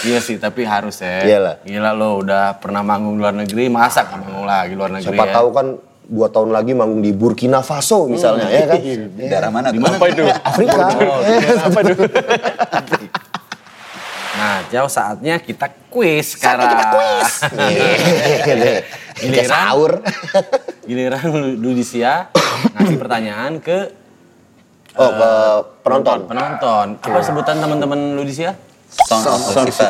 Speaker 3: Iya sih, tapi harus ya.
Speaker 2: Iyalah.
Speaker 3: Gila lo udah pernah manggung luar negeri, masa nggak manggung lagi luar negeri
Speaker 2: Siapa
Speaker 3: ya?
Speaker 2: tahu kan dua tahun lagi manggung di Burkina Faso misalnya ya kan.
Speaker 1: Daerah mana tuh?
Speaker 3: Apa itu?
Speaker 2: Afrika. Apa
Speaker 3: Nah, jauh saatnya kita kuis sekarang. kita kuis.
Speaker 2: Iya. Kayak sahur.
Speaker 3: Giliran Ludisia ngasih pertanyaan ke
Speaker 2: Oh, ke penonton.
Speaker 3: penonton. Apa
Speaker 4: Iya.
Speaker 3: sebutan teman-teman Ludisia?
Speaker 1: Sound of Lucifer.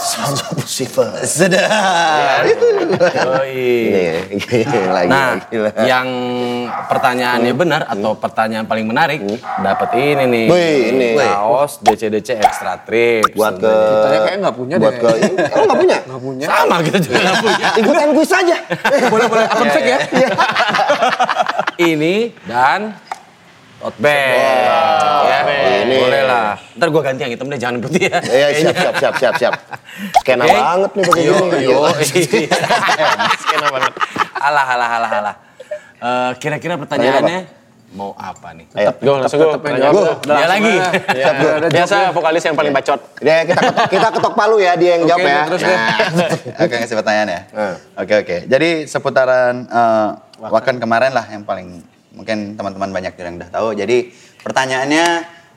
Speaker 2: Sounds of Oh, Lucifer.
Speaker 1: Sedap.
Speaker 3: Yoi.
Speaker 2: Iya, gila, lagi, Hmm.
Speaker 3: Nah,
Speaker 2: gila.
Speaker 3: yang pertanyaannya benar atau pertanyaan paling menarik dapat ini nih.
Speaker 2: Hmm. Wih, ini.
Speaker 3: Kaos DCDC Extra Trip.
Speaker 2: buat ke
Speaker 4: Tanya kayak nggak punya
Speaker 2: buat
Speaker 4: deh.
Speaker 2: ke emang nggak punya
Speaker 3: sama kita juga nggak
Speaker 2: (laughs)
Speaker 3: punya. Iya,
Speaker 2: ikutan kuis saja
Speaker 4: Boleh boleh akun fake ya.
Speaker 2: Iya.
Speaker 3: (laughs) Ini dan tote bag. Ya,
Speaker 2: ini.
Speaker 3: boleh lah. Ntar gua ganti yang hitam deh, jangan yang putih ya.
Speaker 2: ya siap siap siap siap siap skena
Speaker 3: Oke.
Speaker 2: banget nih pakai
Speaker 3: Yo,
Speaker 2: gini
Speaker 3: yo.
Speaker 4: iya.
Speaker 3: (laughs) Skena banget. Iya. Alah, alah, alah, alah. Eh, Kira-kira pertanyaannya mau apa nih?
Speaker 2: ayo
Speaker 5: Gue langsung gue.
Speaker 3: Dia lagi. Iya.
Speaker 5: Biasa vokalis yang paling bacot.
Speaker 2: Deh, Iya. kita ketok, kita ketok palu ya dia yang jawab ya
Speaker 4: terus
Speaker 2: Nah,
Speaker 1: Oke, kasih pertanyaan ya.
Speaker 2: Hmm.
Speaker 1: Oke, oke. Jadi seputaran eh, Wakan kemarin lah yang paling mungkin teman-teman banyak yang udah tahu. Jadi pertanyaannya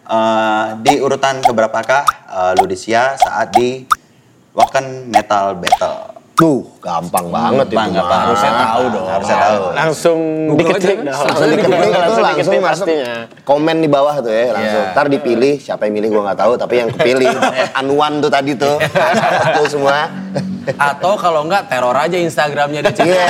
Speaker 1: eh, di urutan keberapakah eh, Ludesia saat di Wacken Metal Battle?
Speaker 2: Tuh, gampang banget itu.
Speaker 1: Bang,
Speaker 2: Mas.
Speaker 1: harus saya tahu dong. Harus saya tahu.
Speaker 5: langsung diketik
Speaker 6: aja,
Speaker 5: dong.
Speaker 2: Langsung diketik itu langsung,
Speaker 5: diketik
Speaker 2: masuk
Speaker 5: pastinya.
Speaker 2: komen di bawah tuh ya langsung. Ntar dipilih siapa yang milih gua nggak tahu tapi yang (laughs) kepilih Anwan tuh tadi tuh. Itu semua.
Speaker 4: Atau kalau enggak teror aja Instagramnya di
Speaker 2: Iya.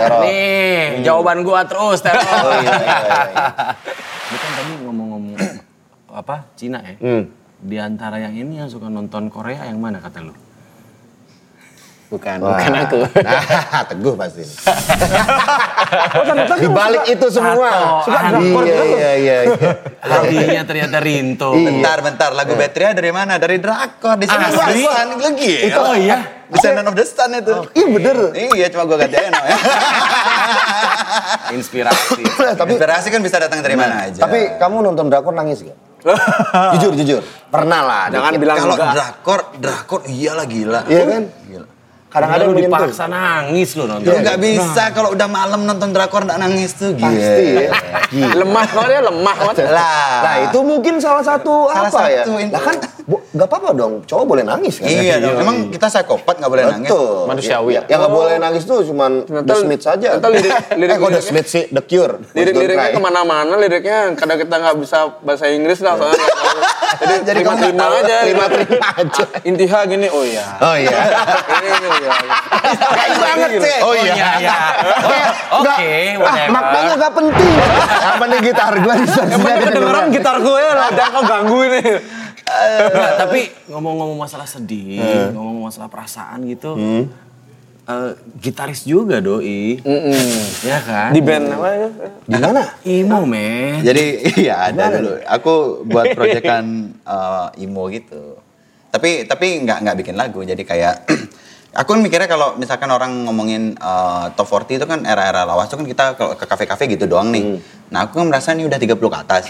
Speaker 2: Teror.
Speaker 4: Nih, jawaban gua terus teror. Bukan kan tadi ngomong-ngomong (coughs) apa Cina ya?
Speaker 6: Hmm.
Speaker 4: Di antara yang ini yang suka nonton Korea yang mana
Speaker 3: (laughs)
Speaker 4: kata lu?
Speaker 5: Bukan, bukan aku.
Speaker 2: Nah, teguh pasti. Oh, di balik itu semua.
Speaker 4: Suka
Speaker 2: Iya, iya, iya. iya.
Speaker 4: Lagunya ternyata Rinto.
Speaker 1: Bentar, bentar. Lagu Batria dari mana? Dari Drakor. Di sana
Speaker 4: Asli?
Speaker 1: Drakor. Lagi ya?
Speaker 4: Oh iya.
Speaker 1: Descendant of the Sun itu.
Speaker 2: Iya bener.
Speaker 1: Iya, cuma gue ganti aja (laughs) namanya.
Speaker 4: Inspirasi.
Speaker 1: Tapi, Inspirasi kan bisa datang dari mana aja.
Speaker 2: Tapi kamu nonton drakor nangis gak? jujur, jujur. Pernah lah. Jangan bilang
Speaker 1: kalau drakor, drakor iyalah gila.
Speaker 2: Iya kan? Kadang-kadang
Speaker 4: Lu
Speaker 2: begitu.
Speaker 4: dipaksa nangis lu nonton.
Speaker 1: Lu nggak bisa kalau udah malam nonton drakor nggak nangis tuh gila. Iya
Speaker 2: Pasti ya. Gila.
Speaker 6: lemah kalau dia lemah banget.
Speaker 1: Lah.
Speaker 2: Nah itu mungkin salah satu
Speaker 1: Salah
Speaker 2: apa ya?
Speaker 1: satu ini.
Speaker 2: Nah kan bo- gak apa-apa dong, cowok boleh nangis kan?
Speaker 1: Iya dong. Emang kita psikopat nggak boleh nangis.
Speaker 2: Betul.
Speaker 5: Manusiawi.
Speaker 2: Ya, yang gak boleh nangis tuh cuman The Smith saja.
Speaker 6: Oh. ternyata lirik- lirik-
Speaker 2: (laughs) eh kok The
Speaker 6: liriknya-
Speaker 2: Smith sih? The
Speaker 6: (laughs)
Speaker 2: Cure.
Speaker 6: Lirik-liriknya
Speaker 2: Don't cry.
Speaker 6: kemana-mana, liriknya kadang kita nggak bisa bahasa Inggris lah soalnya. nggak tahu. Jadi
Speaker 2: (laughs) Jadi kamu nggak
Speaker 6: terima-terima
Speaker 2: tahu,
Speaker 6: aja.
Speaker 2: terima-terima aja.
Speaker 6: Intiha gini, oh (laughs) iya.
Speaker 2: Oh iya.
Speaker 6: Ini, ini, oh iya.
Speaker 1: Kayak banget sih.
Speaker 2: (laughs) Oh iya.
Speaker 4: iya.
Speaker 2: Nggak-
Speaker 4: Oke,
Speaker 6: Iya,
Speaker 2: ah,
Speaker 6: kan?
Speaker 4: whatever.
Speaker 2: maknanya gak penting. Apa nih gitar gue di sana? Iya.
Speaker 6: Kedengeran gitar gue ya, lah. Jangan kau ganggu ini.
Speaker 4: Nah, tapi ngomong-ngomong masalah sedih,
Speaker 6: Eh.
Speaker 4: ngomong masalah perasaan gitu, eh, gitaris juga doi, ya kan?
Speaker 6: Di band apa itu?
Speaker 1: Iya
Speaker 2: Di mana?
Speaker 4: Imo men.
Speaker 1: Jadi (laughs) iya ada dulu. Aku
Speaker 2: (laughs)
Speaker 1: buat proyekan eh, emo gitu. Tapi tapi nggak nggak bikin lagu. Jadi kayak (clears throat) aku kan mikirnya kalau misalkan orang ngomongin eh, top 40 itu kan era-era lawas itu kan kita kalau ke kafe-kafe gitu doang
Speaker 2: Hmm.
Speaker 1: nih. Nah, aku kan merasa ini udah 30 ke atas.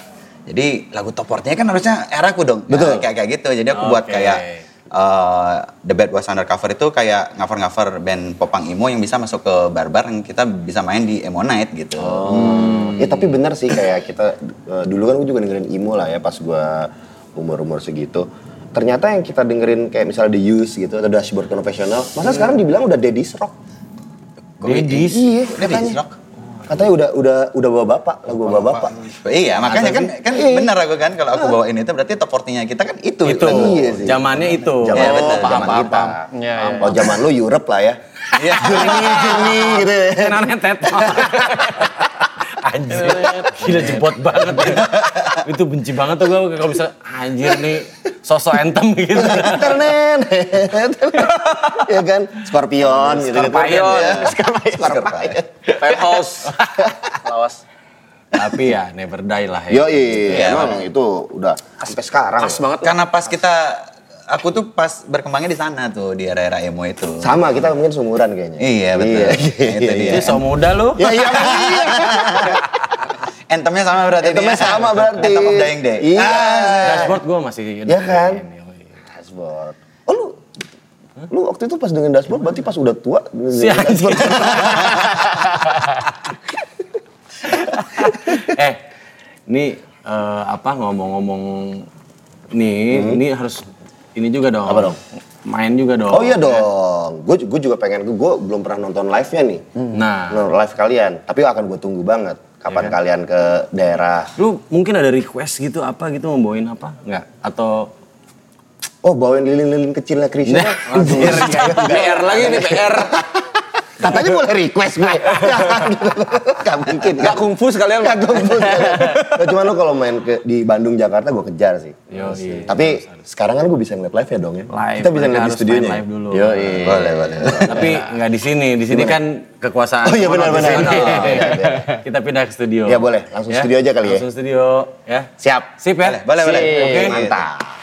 Speaker 1: Jadi lagu top 40-nya kan harusnya era aku dong. Nah, kayak kayak gitu. Jadi aku buat
Speaker 4: Oke.
Speaker 1: kayak eh, The Bad Was Undercover itu kayak cover-cover band popang emo yang bisa masuk ke barbar yang kita bisa main di emo night gitu.
Speaker 2: Ya tapi benar sih kayak kita eh, dulu kan gue juga dengerin emo lah ya pas gue umur-umur segitu. Ternyata yang kita dengerin kayak misalnya The Used gitu atau Dashboard Confessional,
Speaker 6: Iya.
Speaker 2: masa sekarang dibilang udah Daddy's Rock.
Speaker 1: Komedi.
Speaker 2: Iya,
Speaker 1: Daddy's
Speaker 2: katanya.
Speaker 1: Rock.
Speaker 2: Katanya udah udah udah bawa bapak, lagu bawa bapak.
Speaker 1: Iya, makanya kan kan benar aku kan kalau aku
Speaker 2: Ah.
Speaker 1: bawain itu berarti top 40-nya kita kan itu.
Speaker 4: Itu,
Speaker 1: lagu.
Speaker 2: Iya sih.
Speaker 4: zamannya itu.
Speaker 2: Zaman
Speaker 1: Iya,
Speaker 2: oh,
Speaker 1: betul,
Speaker 2: paham,
Speaker 1: zaman
Speaker 2: paham,
Speaker 1: kita.
Speaker 2: paham.
Speaker 5: Iya,
Speaker 2: Kalau zaman lu Europe lah ya. (laughs)
Speaker 1: Iya.
Speaker 2: Jernih, jernih gitu ya.
Speaker 4: Kenangan tetot. (laughs) Anjir, gila jebot banget. ya. itu benci banget tuh gue kalau bisa anjir nih sosok entem gitu.
Speaker 2: Internet. ya kan? Scorpion gitu.
Speaker 4: Scorpion.
Speaker 2: Scorpion. Scorpion.
Speaker 6: Penthouse. Lawas.
Speaker 4: Tapi ya never die lah ya.
Speaker 2: Yo, iya, emang itu udah sampai sekarang.
Speaker 5: ya.
Speaker 6: Pas banget.
Speaker 1: Karena pas kita aku tuh pas berkembangnya di sana tuh di era-era emo itu.
Speaker 2: Sama kita mungkin seumuran kayaknya.
Speaker 1: Iya, betul.
Speaker 2: Iya,
Speaker 1: itu dia.
Speaker 4: Jadi so muda lu.
Speaker 2: Ya iya. iya.
Speaker 1: Entemnya sama berarti. dia.
Speaker 2: Entemnya sama berarti.
Speaker 1: Entem Iya. of Dying Day.
Speaker 2: Iya.
Speaker 3: Ah.
Speaker 4: Dashboard gue masih.
Speaker 2: Iya kan?
Speaker 4: Ini, yoi.
Speaker 2: Dashboard. Oh lu Lu waktu itu pas dengan dashboard berarti pas udah tua dengerin
Speaker 4: Si
Speaker 2: (laughs)
Speaker 4: anjing.
Speaker 2: dashboard.
Speaker 4: eh, ini eh, apa ngomong-ngomong nih, ini harus ini juga dong.
Speaker 2: Hmm. Apa dong?
Speaker 4: Main juga dong.
Speaker 2: Oh iya dong. Gue gue juga pengen gue belum pernah nonton live-nya nih.
Speaker 4: Nah,
Speaker 2: Nonton live kalian, tapi akan gue tunggu banget kapan
Speaker 4: Iya kan?
Speaker 2: kalian ke daerah.
Speaker 4: lu mungkin ada request gitu apa gitu mau bawain apa? Enggak? Atau
Speaker 2: Oh, bawain lilin-lilin kecilnya Krisya.
Speaker 4: Nah,
Speaker 6: PR lagi nih, PR.
Speaker 2: Katanya boleh request gue. (laughs) Gak mungkin.
Speaker 6: Gak kungfu sekalian.
Speaker 2: Gak kumpul. Nah, cuman lu kalau main ke, di Bandung, Jakarta gue kejar sih.
Speaker 4: Yoi.
Speaker 2: Tapi sekarang kan gue bisa ngeliat live ya dong ya.
Speaker 4: iya. Live,
Speaker 2: Kita bisa
Speaker 4: mereka
Speaker 2: ngeliat di ya?
Speaker 4: harus
Speaker 2: studio
Speaker 4: main live dulu.
Speaker 2: Yoi.
Speaker 1: Boleh, boleh.
Speaker 4: tapi nggak di sini, di sini kan kekuasaan.
Speaker 2: Oh iya, benar, benar.
Speaker 4: Di sini.
Speaker 2: Oh, iya, iya.
Speaker 4: Kita pindah ke studio.
Speaker 2: Ya, boleh. Langsung studio aja kali ya.
Speaker 4: Langsung studio ya.
Speaker 2: Siap.
Speaker 4: Sip ya.
Speaker 1: Boleh, boleh.
Speaker 4: Oke.
Speaker 2: Mantap.